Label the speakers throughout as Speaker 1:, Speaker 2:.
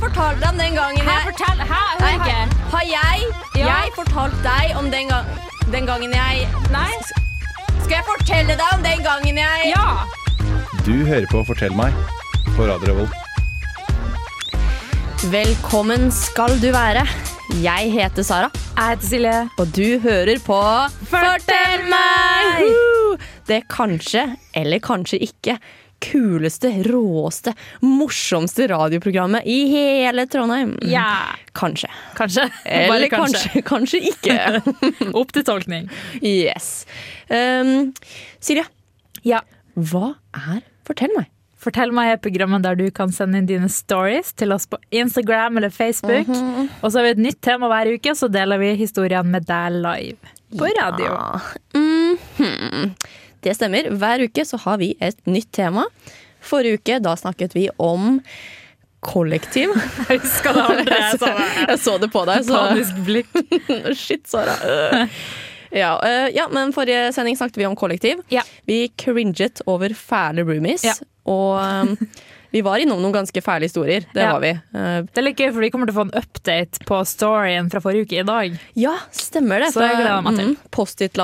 Speaker 1: fortalte deg om den gangen
Speaker 2: Hæ,
Speaker 1: jeg
Speaker 2: fortell! Hæ, jeg
Speaker 1: Nei,
Speaker 2: hører ikke.
Speaker 1: har, har jeg,
Speaker 2: Ja.
Speaker 1: jeg fortalt deg om den, gang, den gangen jeg
Speaker 2: Nei?
Speaker 1: Skal jeg fortelle deg om den gangen jeg
Speaker 2: Ja!
Speaker 3: Du hører på Fortell meg på Radio Revolt.
Speaker 1: Velkommen skal du være. Jeg heter Sara,
Speaker 2: Jeg heter Silje.
Speaker 1: og du hører på
Speaker 2: Fortell meg!
Speaker 1: Woo! Det kanskje, eller kanskje ikke, kuleste, råeste, morsomste radioprogrammet i hele Trondheim.
Speaker 2: Ja.
Speaker 1: Kanskje.
Speaker 2: Kanskje.
Speaker 1: Eller
Speaker 2: Bare kanskje.
Speaker 1: kanskje, kanskje ikke.
Speaker 2: Opp til tolkning.
Speaker 1: Yes. Um, Silje,
Speaker 2: Ja.
Speaker 1: hva er Fortell meg?
Speaker 2: Fortell meg er programmet der du kan sende inn dine stories til oss på Instagram eller Facebook. Og så har vi et nytt tema hver uke, så deler vi historiene med deg live på radio.
Speaker 1: Mhm. Det stemmer. Hver uke så har vi et nytt tema. Forrige uke da snakket vi om kollektiv.
Speaker 2: Jeg husker det andre jeg sa.
Speaker 1: Jeg så det på deg, så
Speaker 2: Panisk blikk.
Speaker 1: Shit, Sara. Øh. Ja, øh, ja, men forrige sending snakket vi om kollektiv.
Speaker 2: Ja.
Speaker 1: Vi cringet over fæle roomies.
Speaker 2: Ja.
Speaker 1: Og øhm, vi var innom noen ganske fæle historier. Det
Speaker 2: Ja.
Speaker 1: var vi. Øh,
Speaker 2: Det er litt gøy, for vi kommer til å få en update på storyen fra forrige uke i dag.
Speaker 1: Ja, stemmer det.
Speaker 2: Så jeg gleder meg til.
Speaker 1: mm,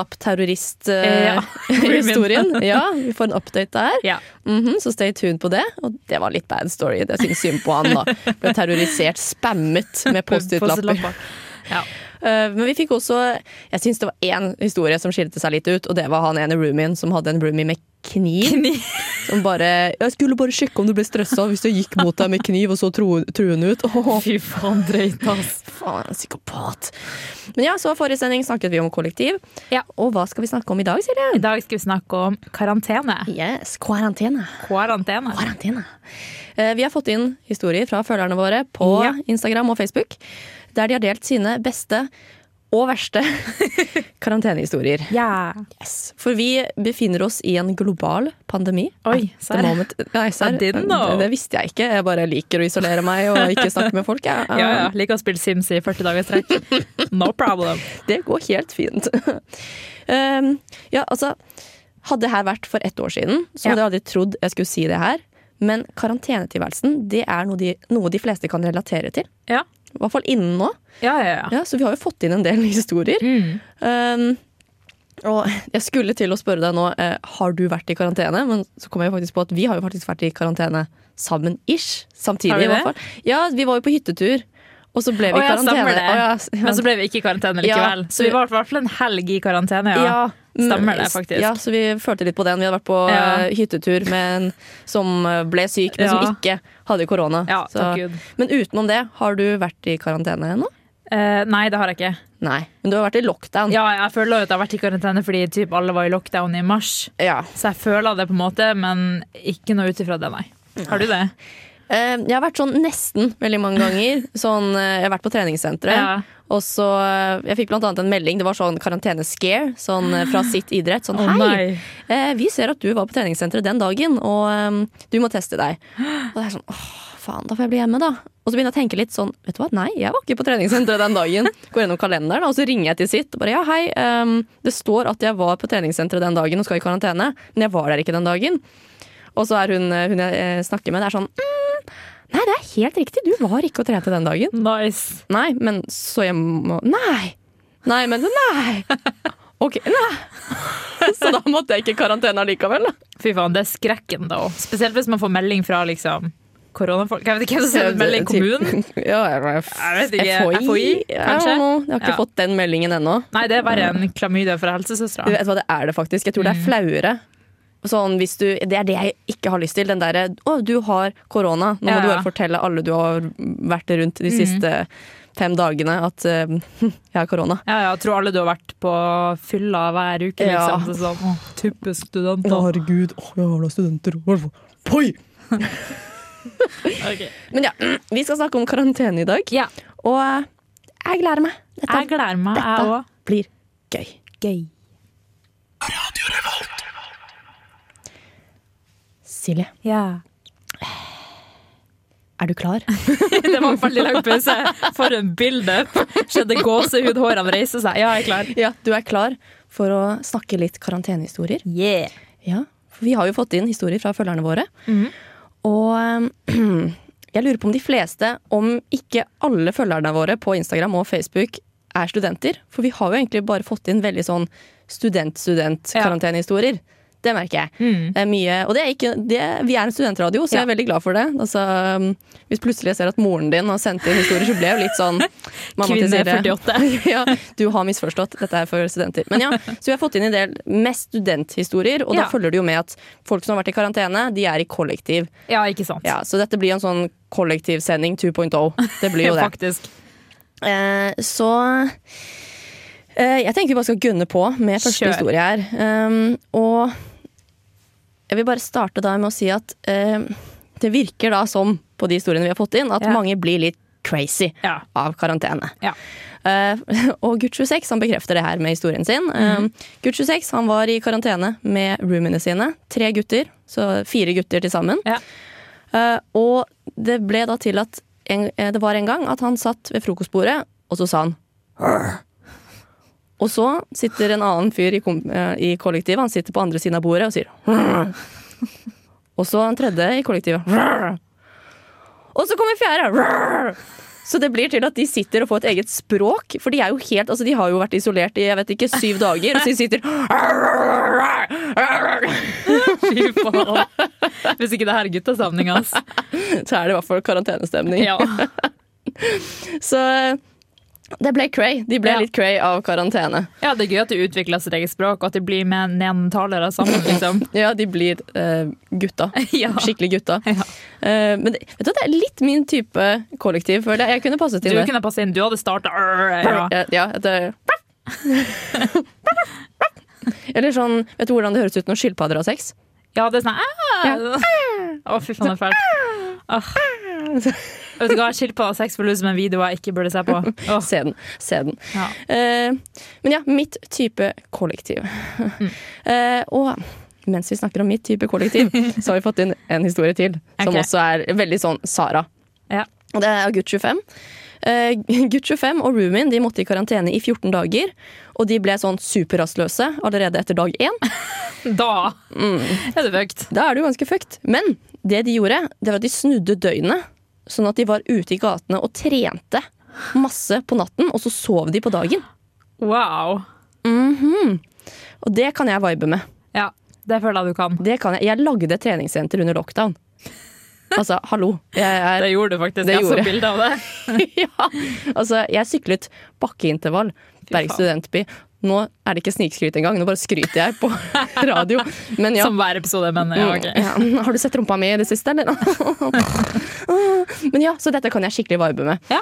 Speaker 2: Eh, ja.
Speaker 1: Post-it-lapp-terrorist-historien. ja, vi får en update der.
Speaker 2: Ja.
Speaker 1: Mhm, så stay tuned på det. Og det var litt bad story. Det syns synd på han, da. Ble terrorisert, spammet med Post-It-lapper.
Speaker 2: Post-it-lapper. Ja.
Speaker 1: Eh, Men vi fikk også Jeg syns det var én historie som skilte seg litt ut, og det var han ene roomien som hadde en roomie med kniv. Som bare 'Jeg skulle bare sjekke om du ble stressa hvis jeg gikk mot deg med kniv', og så tro- truende ut. Åh,
Speaker 2: Fy faen, drøyt, ass.
Speaker 1: faen, en psykopat. Men ja, så forrige sending snakket vi om kollektiv.
Speaker 2: Ja.
Speaker 1: Og hva skal vi snakke om i dag,
Speaker 2: I
Speaker 1: Silje?
Speaker 2: dag skal vi snakke om karantene.
Speaker 1: Yes, karantene.
Speaker 2: Karantene.
Speaker 1: Karantene. Eh, Vi har fått inn historier fra følgerne våre på
Speaker 2: Ja.
Speaker 1: Instagram og Facebook, der de har delt sine beste og verste karantenehistorier.
Speaker 2: Ja.
Speaker 1: Yes. For vi befinner oss i en global pandemi.
Speaker 2: Oi,
Speaker 1: At the
Speaker 2: serr.
Speaker 1: moment- Nei, serr.
Speaker 2: I didn't know.
Speaker 1: Det, det visste jeg ikke. Jeg bare liker å isolere meg og ikke snakke med folk. Jeg.
Speaker 2: Ja, ja. Liker å spille Sims i 40 dager i strekk. No problem.
Speaker 1: Um, Det går helt fint. um, ja, altså, hadde det her vært for ett år siden, så
Speaker 2: Ja.
Speaker 1: hadde jeg aldri trodd jeg skulle si det her. Men karantenetilværelsen det er noe de, noe de fleste kan relatere til.
Speaker 2: Ja,
Speaker 1: I hvert fall innen nå.
Speaker 2: ja, ja. ja.
Speaker 1: Ja, så vi har jo fått inn en del historier.
Speaker 2: Mm.
Speaker 1: Um, og jeg skulle til å spørre deg nå eh, har du vært i karantene, men så kom jeg jo faktisk på at vi har jo faktisk vært i karantene sammen ish. Samtidig,
Speaker 2: Har vi
Speaker 1: i hvert
Speaker 2: det?
Speaker 1: fall. Ja, vi var jo på hyttetur, og så ble vi i
Speaker 2: Å ja,
Speaker 1: karantene.
Speaker 2: stemmer det.
Speaker 1: Å ja, s- ja.
Speaker 2: Men så ble vi ikke i karantene likevel.
Speaker 1: Ja.
Speaker 2: Så vi var i hvert fall en helg i karantene, ja.
Speaker 1: Ja, men-
Speaker 2: Stemmer det, faktisk.
Speaker 1: Ja, så vi følte litt på den. Vi hadde vært på
Speaker 2: Ja.
Speaker 1: eh, hyttetur med en som eh, ble syk, men
Speaker 2: Ja.
Speaker 1: som ikke hadde korona.
Speaker 2: Ja,
Speaker 1: Så-
Speaker 2: takk Gud.
Speaker 1: men utenom det, har du vært i karantene ennå?
Speaker 2: Eh, nei, det har jeg ikke.
Speaker 1: Nei, men du har vært i lockdown.
Speaker 2: Ja, jeg føler jo at jeg har vært i karantene fordi typ alle var i lockdown i mars.
Speaker 1: Ja.
Speaker 2: Så jeg føler det på en måte, men ikke noe ut ifra det, nei. Har du det?
Speaker 1: Eh, Jeg har vært sånn nesten veldig mange ganger. Sånn, eh, jeg har vært på treningssenteret.
Speaker 2: Ja.
Speaker 1: Og så, eh, Jeg fikk blant annet en melding. Det var sånn karantenescare sånn, eh, fra sitt idrett. Sånn
Speaker 2: Å,
Speaker 1: hei,
Speaker 2: nei.
Speaker 1: eh, vi ser at du var på treningssenteret den dagen, og eh, du må teste deg. Og det er sånn åh, faen, da får jeg bli hjemme, da. Og så begynner jeg å tenke litt sånn vet du hva, nei, jeg var ikke på treningssenteret den dagen. Går gjennom kalenderen, og så ringer jeg til sitt og bare ja, hei. eh, det står at jeg var på treningssenteret den dagen og skal i karantene, men jeg var der ikke den dagen. Og så er hun, hun jeg eh, snakker med, det er sånn mm, Nei, det er helt riktig, du var ikke og trente den dagen.
Speaker 2: Nice.
Speaker 1: Nei, men så jeg må Nei! Nei, men nei! Ok, nei! Så da måtte jeg ikke i karantene allikevel, da.
Speaker 2: Fy faen, det er skrekken da også. Spesielt hvis man får melding fra liksom koronafolk. Jeg vet ikke hvem som sender melding i kommunen.
Speaker 1: Ja, jeg,
Speaker 2: Jeg vet ikke.
Speaker 1: FHI?
Speaker 2: FHI,
Speaker 1: I
Speaker 2: kanskje?
Speaker 1: don't know. Jeg har ikke
Speaker 2: Ja.
Speaker 1: fått den meldingen ennå.
Speaker 2: Nei, det er verre enn klamydia fra
Speaker 1: Du
Speaker 2: helsesøstera.
Speaker 1: vet hva det er det faktisk. Jeg tror
Speaker 2: Mm.
Speaker 1: det er flauere. Sånn, hvis du, det er det jeg ikke har lyst til. Den derre 'Å, du har korona'. Nå må
Speaker 2: Ja,
Speaker 1: du
Speaker 2: ja. Mm.
Speaker 1: bare fortelle alle du har vært rundt de siste fem dagene at eh, 'jeg har korona'.
Speaker 2: Ja, ja, jeg tror alle du har vært på fylla hver uke,
Speaker 1: Ja.
Speaker 2: liksom. Så sånn, å, typisk studenter.
Speaker 1: herregud, å, jævla studenter. Poi!
Speaker 2: Ok.
Speaker 1: Men ja, vi skal snakke om karantene i dag.
Speaker 2: Ja,
Speaker 1: Og eh, jeg gleder meg. Dette
Speaker 2: jeg gleder meg,
Speaker 1: Dette.
Speaker 2: jeg òg.
Speaker 1: blir gøy.
Speaker 2: Gøy.
Speaker 1: Silje,
Speaker 2: Ja.
Speaker 1: er du klar?
Speaker 2: Det var en veldig lang pause. For en build-up. Skjedde gåsehud, hårene reiser seg. Ja, jeg er klar.
Speaker 1: ja, du er klar for å snakke litt karantenehistorier?
Speaker 2: Yeah.
Speaker 1: Ja, for vi har jo fått inn historier fra følgerne våre. Og ehm, jeg lurer på om de fleste, om ikke alle følgerne våre på Instagram og Facebook, er studenter. For vi har jo egentlig bare fått inn veldig sånn student-student-karantenehistorier. Det merker jeg. Det er mye, og det er ikke, det, vi er en studentradio, så jeg er veldig glad for det. Altså, um, hvis plutselig jeg ser at moren din har sendt inn historier, så blir jeg jo litt sånn mamma til
Speaker 2: Kvinne
Speaker 1: Siri.
Speaker 2: 48.
Speaker 1: ja, du har misforstått. Dette er for studenter. Men ja, Så vi har fått inn en del mest studenthistorier, og
Speaker 2: Ja.
Speaker 1: da følger det jo med at folk som har vært i karantene, de er i kollektiv.
Speaker 2: Ja, ikke sant.
Speaker 1: Ja, Så dette blir en sånn kollektivsending 2.0. Det blir jo det.
Speaker 2: Faktisk.
Speaker 1: Eh, så eh, Jeg tenker vi bare skal gunne på med første
Speaker 2: Kjør.
Speaker 1: historie her. Um, og jeg vil bare starte da med å si at eh, det virker da som, på de historiene vi har fått inn, at
Speaker 2: Ja.
Speaker 1: mange blir litt crazy
Speaker 2: Ja.
Speaker 1: av karantene.
Speaker 2: Ja.
Speaker 1: Eh, og Gutt 26 han bekrefter det her med historien sin. Eh, Gutt 26 han var i karantene med roomiene sine. Tre gutter, så fire gutter til sammen.
Speaker 2: Ja.
Speaker 1: Eh, og det ble da til at en, eh, det var en gang at han satt ved frokostbordet, og så sa han «Arr». Og så sitter en annen fyr i, kom, eh, i kollektivet, han sitter på andre siden av bordet og sier «Arr». Og så en tredje i kollektivet. «Arr». Og så kommer fjerde. «Arr». Så det blir til at de sitter og får et eget språk. For de er jo helt, altså de har jo vært isolert i jeg vet ikke, syv dager, og så de sitter
Speaker 2: Fy faen. Hvis ikke det her er guttesamlinga hans.
Speaker 1: Så er det i hvert fall karantenestemning.
Speaker 2: Ja.
Speaker 1: Så det ble cray. De ble
Speaker 2: Ja.
Speaker 1: litt cray av karantene.
Speaker 2: ja, det er gøy at de utvikler sitt eget språk, og at de blir med neandertalere sammen, liksom.
Speaker 1: Ja, de blir eh, gutta.
Speaker 2: Ja.
Speaker 1: Skikkelig gutta.
Speaker 2: Ja.
Speaker 1: Eh, men det, vet du, hva, det er litt min type kollektiv. For det, jeg kunne passet
Speaker 2: Du
Speaker 1: til det.
Speaker 2: kunne passe inn, du hadde starta ja.
Speaker 1: Ja, Eh, ja, at det- Eller sånn, Vet du hvordan det høres ut når skilpadder har sex?
Speaker 2: ja, det er sånn «Ah!» Å, fy faen, det er fælt. Åh. Vet du hva, skilpadde og sex for lus som en video jeg ikke burde se på. Åh.
Speaker 1: Se den. Se den.
Speaker 2: Ja.
Speaker 1: Eh, men ja, mitt type kollektiv.
Speaker 2: Mm.
Speaker 1: Eh, og mens vi snakker om mitt type kollektiv, så har vi fått inn en historie til. Som
Speaker 2: Ok.
Speaker 1: også er veldig sånn Sara.
Speaker 2: Ja.
Speaker 1: Og det er av Gutt 25. Eh, Gutt 25 og roomien de måtte i karantene i 14 dager. Og de ble sånn superrastløse allerede etter dag én.
Speaker 2: Da er det fucked.
Speaker 1: Da er det jo ganske fucked. Men det de gjorde, det var at de snudde døgnet. Sånn at de var ute i gatene og trente masse på natten, og så sov de på dagen.
Speaker 2: Wow.
Speaker 1: Og det kan jeg vibe med.
Speaker 2: Ja, det føler jeg du kan.
Speaker 1: Det kan jeg. Jeg lagde et treningssenter under lockdown. Altså, hallo. Jeg, er,
Speaker 2: Det gjorde du faktisk.
Speaker 1: Det
Speaker 2: jeg
Speaker 1: gjorde
Speaker 2: så
Speaker 1: jeg.
Speaker 2: bilde av det.
Speaker 1: ja. altså, jeg syklet bakkeintervall, Berg
Speaker 2: faen.
Speaker 1: studentby. Nå er det ikke snikskryt engang, nå bare skryter jeg på radio. Men ja.
Speaker 2: Som hver episode, men ja, ok.
Speaker 1: Mm, ja. Har du sett rumpa mi i det siste, eller? Men ja, så dette kan jeg skikkelig vibe med.
Speaker 2: Ja,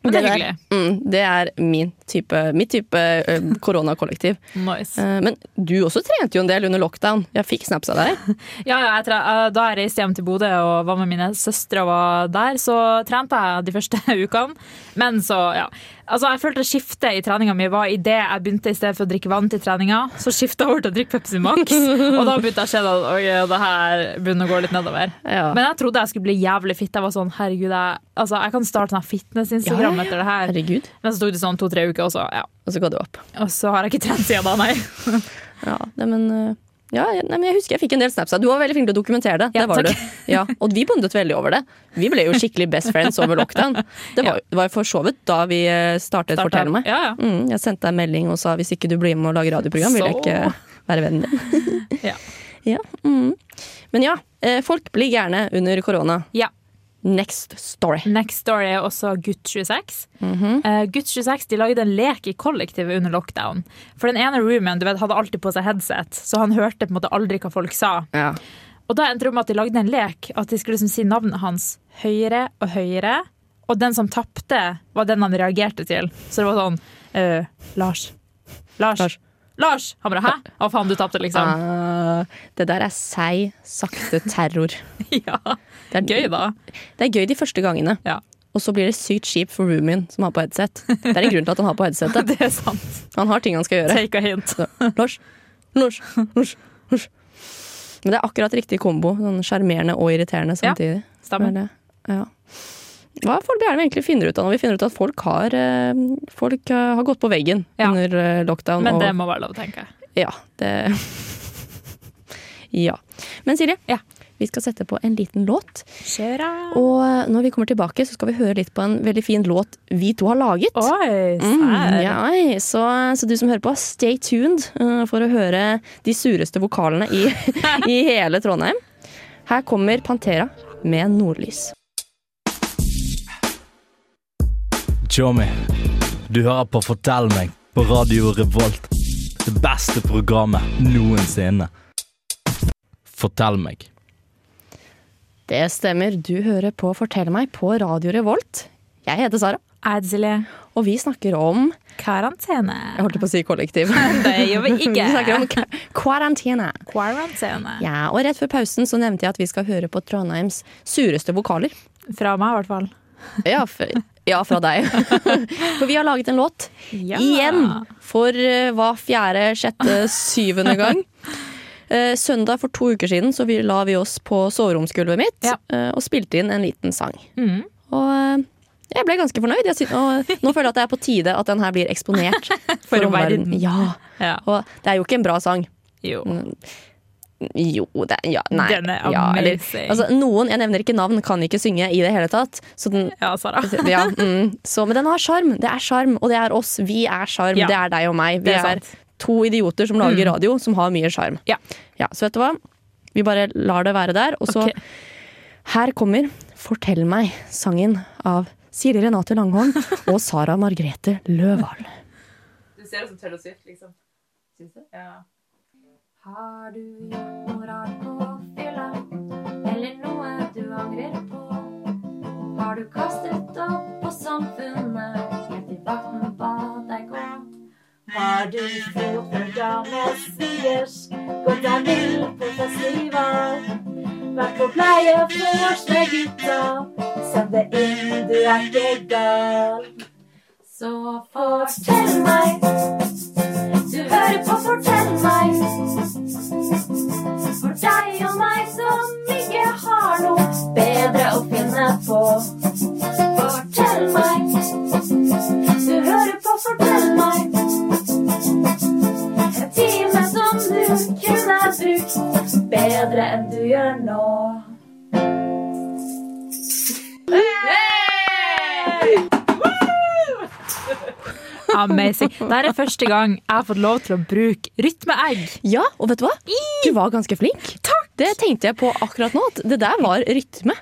Speaker 2: men det er
Speaker 1: der-
Speaker 2: hyggelig.
Speaker 1: Mm, det er min type, mitt type ø, koronakollektiv.
Speaker 2: Nice.
Speaker 1: Eh, Men du også trente jo en del under lockdown. Jeg fikk snaps av deg.
Speaker 2: Ja, ja, jeg tre- eh, da jeg reiste hjem til Bodø og var med mine søstre og var der, så trente jeg de første ukene. Men så, ja. Altså, jeg følte skiftet i treninga mi var idet jeg begynte i stedet for å drikke vann til treninga, så skifta jeg over til å drikke Pepsi Max. Og da begynte jeg å se at oi, det her begynner å gå litt nedover.
Speaker 1: Ja.
Speaker 2: Men jeg trodde jeg skulle bli jævlig fitt. Jeg var sånn, herregud, jeg, altså, jeg kan starte sånn her fitness-instagram
Speaker 1: Ja, ja, ja.
Speaker 2: etter det her.
Speaker 1: Herregud.
Speaker 2: Men så tok det sånn to-tre uker, og så, ja.
Speaker 1: Og så ga du opp.
Speaker 2: og så har jeg ikke trent siden da, nei.
Speaker 1: Ja, nei, men, øh, ja, jeg- nei, men jeg husker jeg fikk en del snaps av deg. Du var veldig flink til å dokumentere det.
Speaker 2: Ja,
Speaker 1: det var
Speaker 2: takk.
Speaker 1: du. Ja, og vi bondet veldig over det. Vi ble jo skikkelig best friends over lockdown. Det var, det var for så vidt da vi øh, startet Fortell meg.
Speaker 2: Ja, ja.
Speaker 1: Mm, jeg sendte deg en melding og sa hvis ikke du blir med og lager radioprogram, vil jeg
Speaker 2: Så.
Speaker 1: ikke være vennen din.
Speaker 2: Ja.
Speaker 1: Ja, mm. Men ja, eh, folk blir gærne under korona.
Speaker 2: Ja.
Speaker 1: Next story.
Speaker 2: Next Story er også Gutt 26.
Speaker 1: Mhm.
Speaker 2: Eh, Gutt 26 de lagde en lek i kollektivet under lockdown. For den ene roomien du vet, hadde alltid på seg headset, så han hørte på en måte aldri hva folk sa.
Speaker 1: Ja.
Speaker 2: Og da endte det med at de lagde en lek, at de skulle liksom si navnet hans høyere og høyere. Og den som tapte, var den han reagerte til. Så det var sånn eh, Lars. Lars.
Speaker 1: Lars.
Speaker 2: Lars. Han bare hæ? Å faen, du tapte, liksom.
Speaker 1: Ah, det der er seig, sakte terror.
Speaker 2: Ja.
Speaker 1: Det er
Speaker 2: Gøy, da.
Speaker 1: Det er gøy de første gangene.
Speaker 2: Ja.
Speaker 1: Og så blir det sykt kjipt for roomien som har på headset. Det er en grunn til at han har på headsetet.
Speaker 2: Det er sant.
Speaker 1: Han har ting han skal gjøre.
Speaker 2: Take a hint.
Speaker 1: Lars, Lars, Lars, Lars. Men det er akkurat riktig kombo. Sånn Sjarmerende og irriterende
Speaker 2: Ja,
Speaker 1: samtidig.
Speaker 2: Stemmer.
Speaker 1: Det er det. Ja. Hva er folk gjerne egentlig finner ut av når vi finner ut at folk har, eh, folk eh, har gått på veggen
Speaker 2: Ja.
Speaker 1: under eh, lockdown?
Speaker 2: Men
Speaker 1: og,
Speaker 2: det må være lov, tenker jeg.
Speaker 1: Ja, det Ja. Men Silje,
Speaker 2: Ja.
Speaker 1: Vi skal sette på en liten låt.
Speaker 2: Kjøra.
Speaker 1: Og når vi kommer tilbake, så skal vi høre litt på en veldig fin låt vi to har laget.
Speaker 2: Oi,
Speaker 1: Mm,
Speaker 2: sær.
Speaker 1: ja, oi. så, så du som hører på, stay tuned eh, for å høre de sureste vokalene i, i hele Trondheim. Her kommer Pantera med Nordlys.
Speaker 4: Tjommi, du hører på Fortell meg på Radio Revolt. Det beste programmet noensinne. Fortell meg.
Speaker 1: Det stemmer, du hører på Fortell meg på Radio Revolt. Jeg heter Sara,
Speaker 2: Jeg heter Silje.
Speaker 1: og vi snakker om
Speaker 2: Karantene.
Speaker 1: Jeg holdt på å si kollektiv.
Speaker 2: Det gjør vi
Speaker 1: Vi snakker
Speaker 2: ikke.
Speaker 1: om ka- karantene.
Speaker 2: Quarantene.
Speaker 1: Ja, og rett før pausen så nevnte jeg at vi skal høre på Trondheims sureste vokaler.
Speaker 2: Fra meg, i hvert fall.
Speaker 1: Ja, f- ja fra deg. For vi har laget en låt.
Speaker 2: Ja.
Speaker 1: Igjen. For eh, hva fjerde, sjette, syvende gang. Eh, Søndag for to uker siden så vi- la vi oss på soveromsgulvet mitt
Speaker 2: Ja.
Speaker 1: eh, og spilte inn en liten sang.
Speaker 2: Mm.
Speaker 1: Og eh, jeg ble ganske fornøyd. Jeg sy- og nå føler jeg at det er på tide at den her blir eksponert for, omverdenen.
Speaker 2: verden.
Speaker 1: Ja.
Speaker 2: Ja.
Speaker 1: Og det er jo ikke en bra sang.
Speaker 2: Jo.
Speaker 1: Jo, det ja, nei.
Speaker 2: Den er
Speaker 1: Ja, eller-
Speaker 2: amazing.
Speaker 1: altså, noen, jeg nevner ikke navn, kan ikke synge i det hele tatt. Så den,
Speaker 2: Ja, Sara.
Speaker 1: ja, mm, så, men den har sjarm. Det er sjarm, og det er oss. Vi er sjarm.
Speaker 2: Ja.
Speaker 1: Det er deg og meg. Vi
Speaker 2: Det er
Speaker 1: er,
Speaker 2: sant.
Speaker 1: to idioter som lager radio, som har mye sjarm.
Speaker 2: Ja.
Speaker 1: Ja, så vet du hva? Vi bare lar det være der. Og så
Speaker 2: Ok.
Speaker 1: Her kommer 'Fortell meg', sangen av Siri Renate Langholm og Sara Margrethe Løvahl.
Speaker 2: Du ser det som Taylor Swift, liksom. Syns du? Ja.
Speaker 5: Har du gjort noe rart på fylla, eller noe du angrer på? Har du kastet opp på samfunnet, helt til vakten ba deg gå? Har du fått en dame svigers, gått deg vill på festival? Vært på pleie vors med gutta, send det inn, du er ikke gal. Så fortell meg, du hører på Fortell meg. For deg og meg som ikke har noe bedre å finne på. Fortell meg. Du hører på Fortell meg. En time som du kunne brukt bedre enn du gjør nå.
Speaker 2: Amazing. Det er første gang jeg har fått lov til å bruke rytmeegg.
Speaker 1: Ja, og vet du hva? Du var ganske flink. Det tenkte jeg på akkurat nå. At det der var rytme.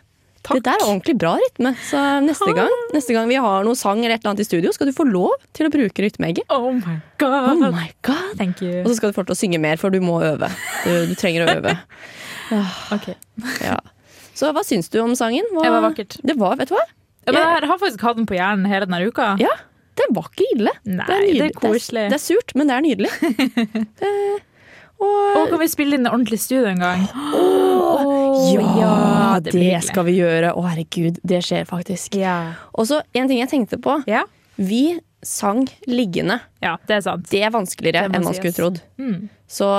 Speaker 1: Det der er ordentlig bra rytme. Så neste gang, neste gang vi har noen sang eller et eller annet i studio, skal du få lov til å bruke rytmeegget.
Speaker 2: Oh my
Speaker 1: Oh
Speaker 2: god.
Speaker 1: my god!
Speaker 2: Thank
Speaker 1: Og
Speaker 2: you.
Speaker 1: så skal du få lov til å synge mer, for du må øve. Du, du trenger å øve.
Speaker 2: Ah, Ok.
Speaker 1: Ja. Så hva syns du om sangen? Hva-
Speaker 2: Det var vakkert.
Speaker 1: Det var, vet du hva?
Speaker 2: Ja, men jeg har faktisk hatt den på hjernen hele denne uka.
Speaker 1: Ja, det var ikke ille.
Speaker 2: Nei, det er
Speaker 1: nydelig. Det
Speaker 2: koselig.
Speaker 1: er, det er surt, men det er nydelig. Eh, og,
Speaker 2: Og kan vi spille inn en ordentlig studio en gang? Åh,
Speaker 1: ja, det,
Speaker 2: blir hyggelig.
Speaker 1: skal vi gjøre. Å, herregud, det skjer faktisk.
Speaker 2: ja.
Speaker 1: Og så en ting jeg tenkte på.
Speaker 2: ja.
Speaker 1: Vi sang liggende.
Speaker 2: Ja, det er sant.
Speaker 1: Det er vanskeligere
Speaker 2: Det må
Speaker 1: enn man
Speaker 2: sies.
Speaker 1: skulle trodd.
Speaker 2: Mm.
Speaker 1: Så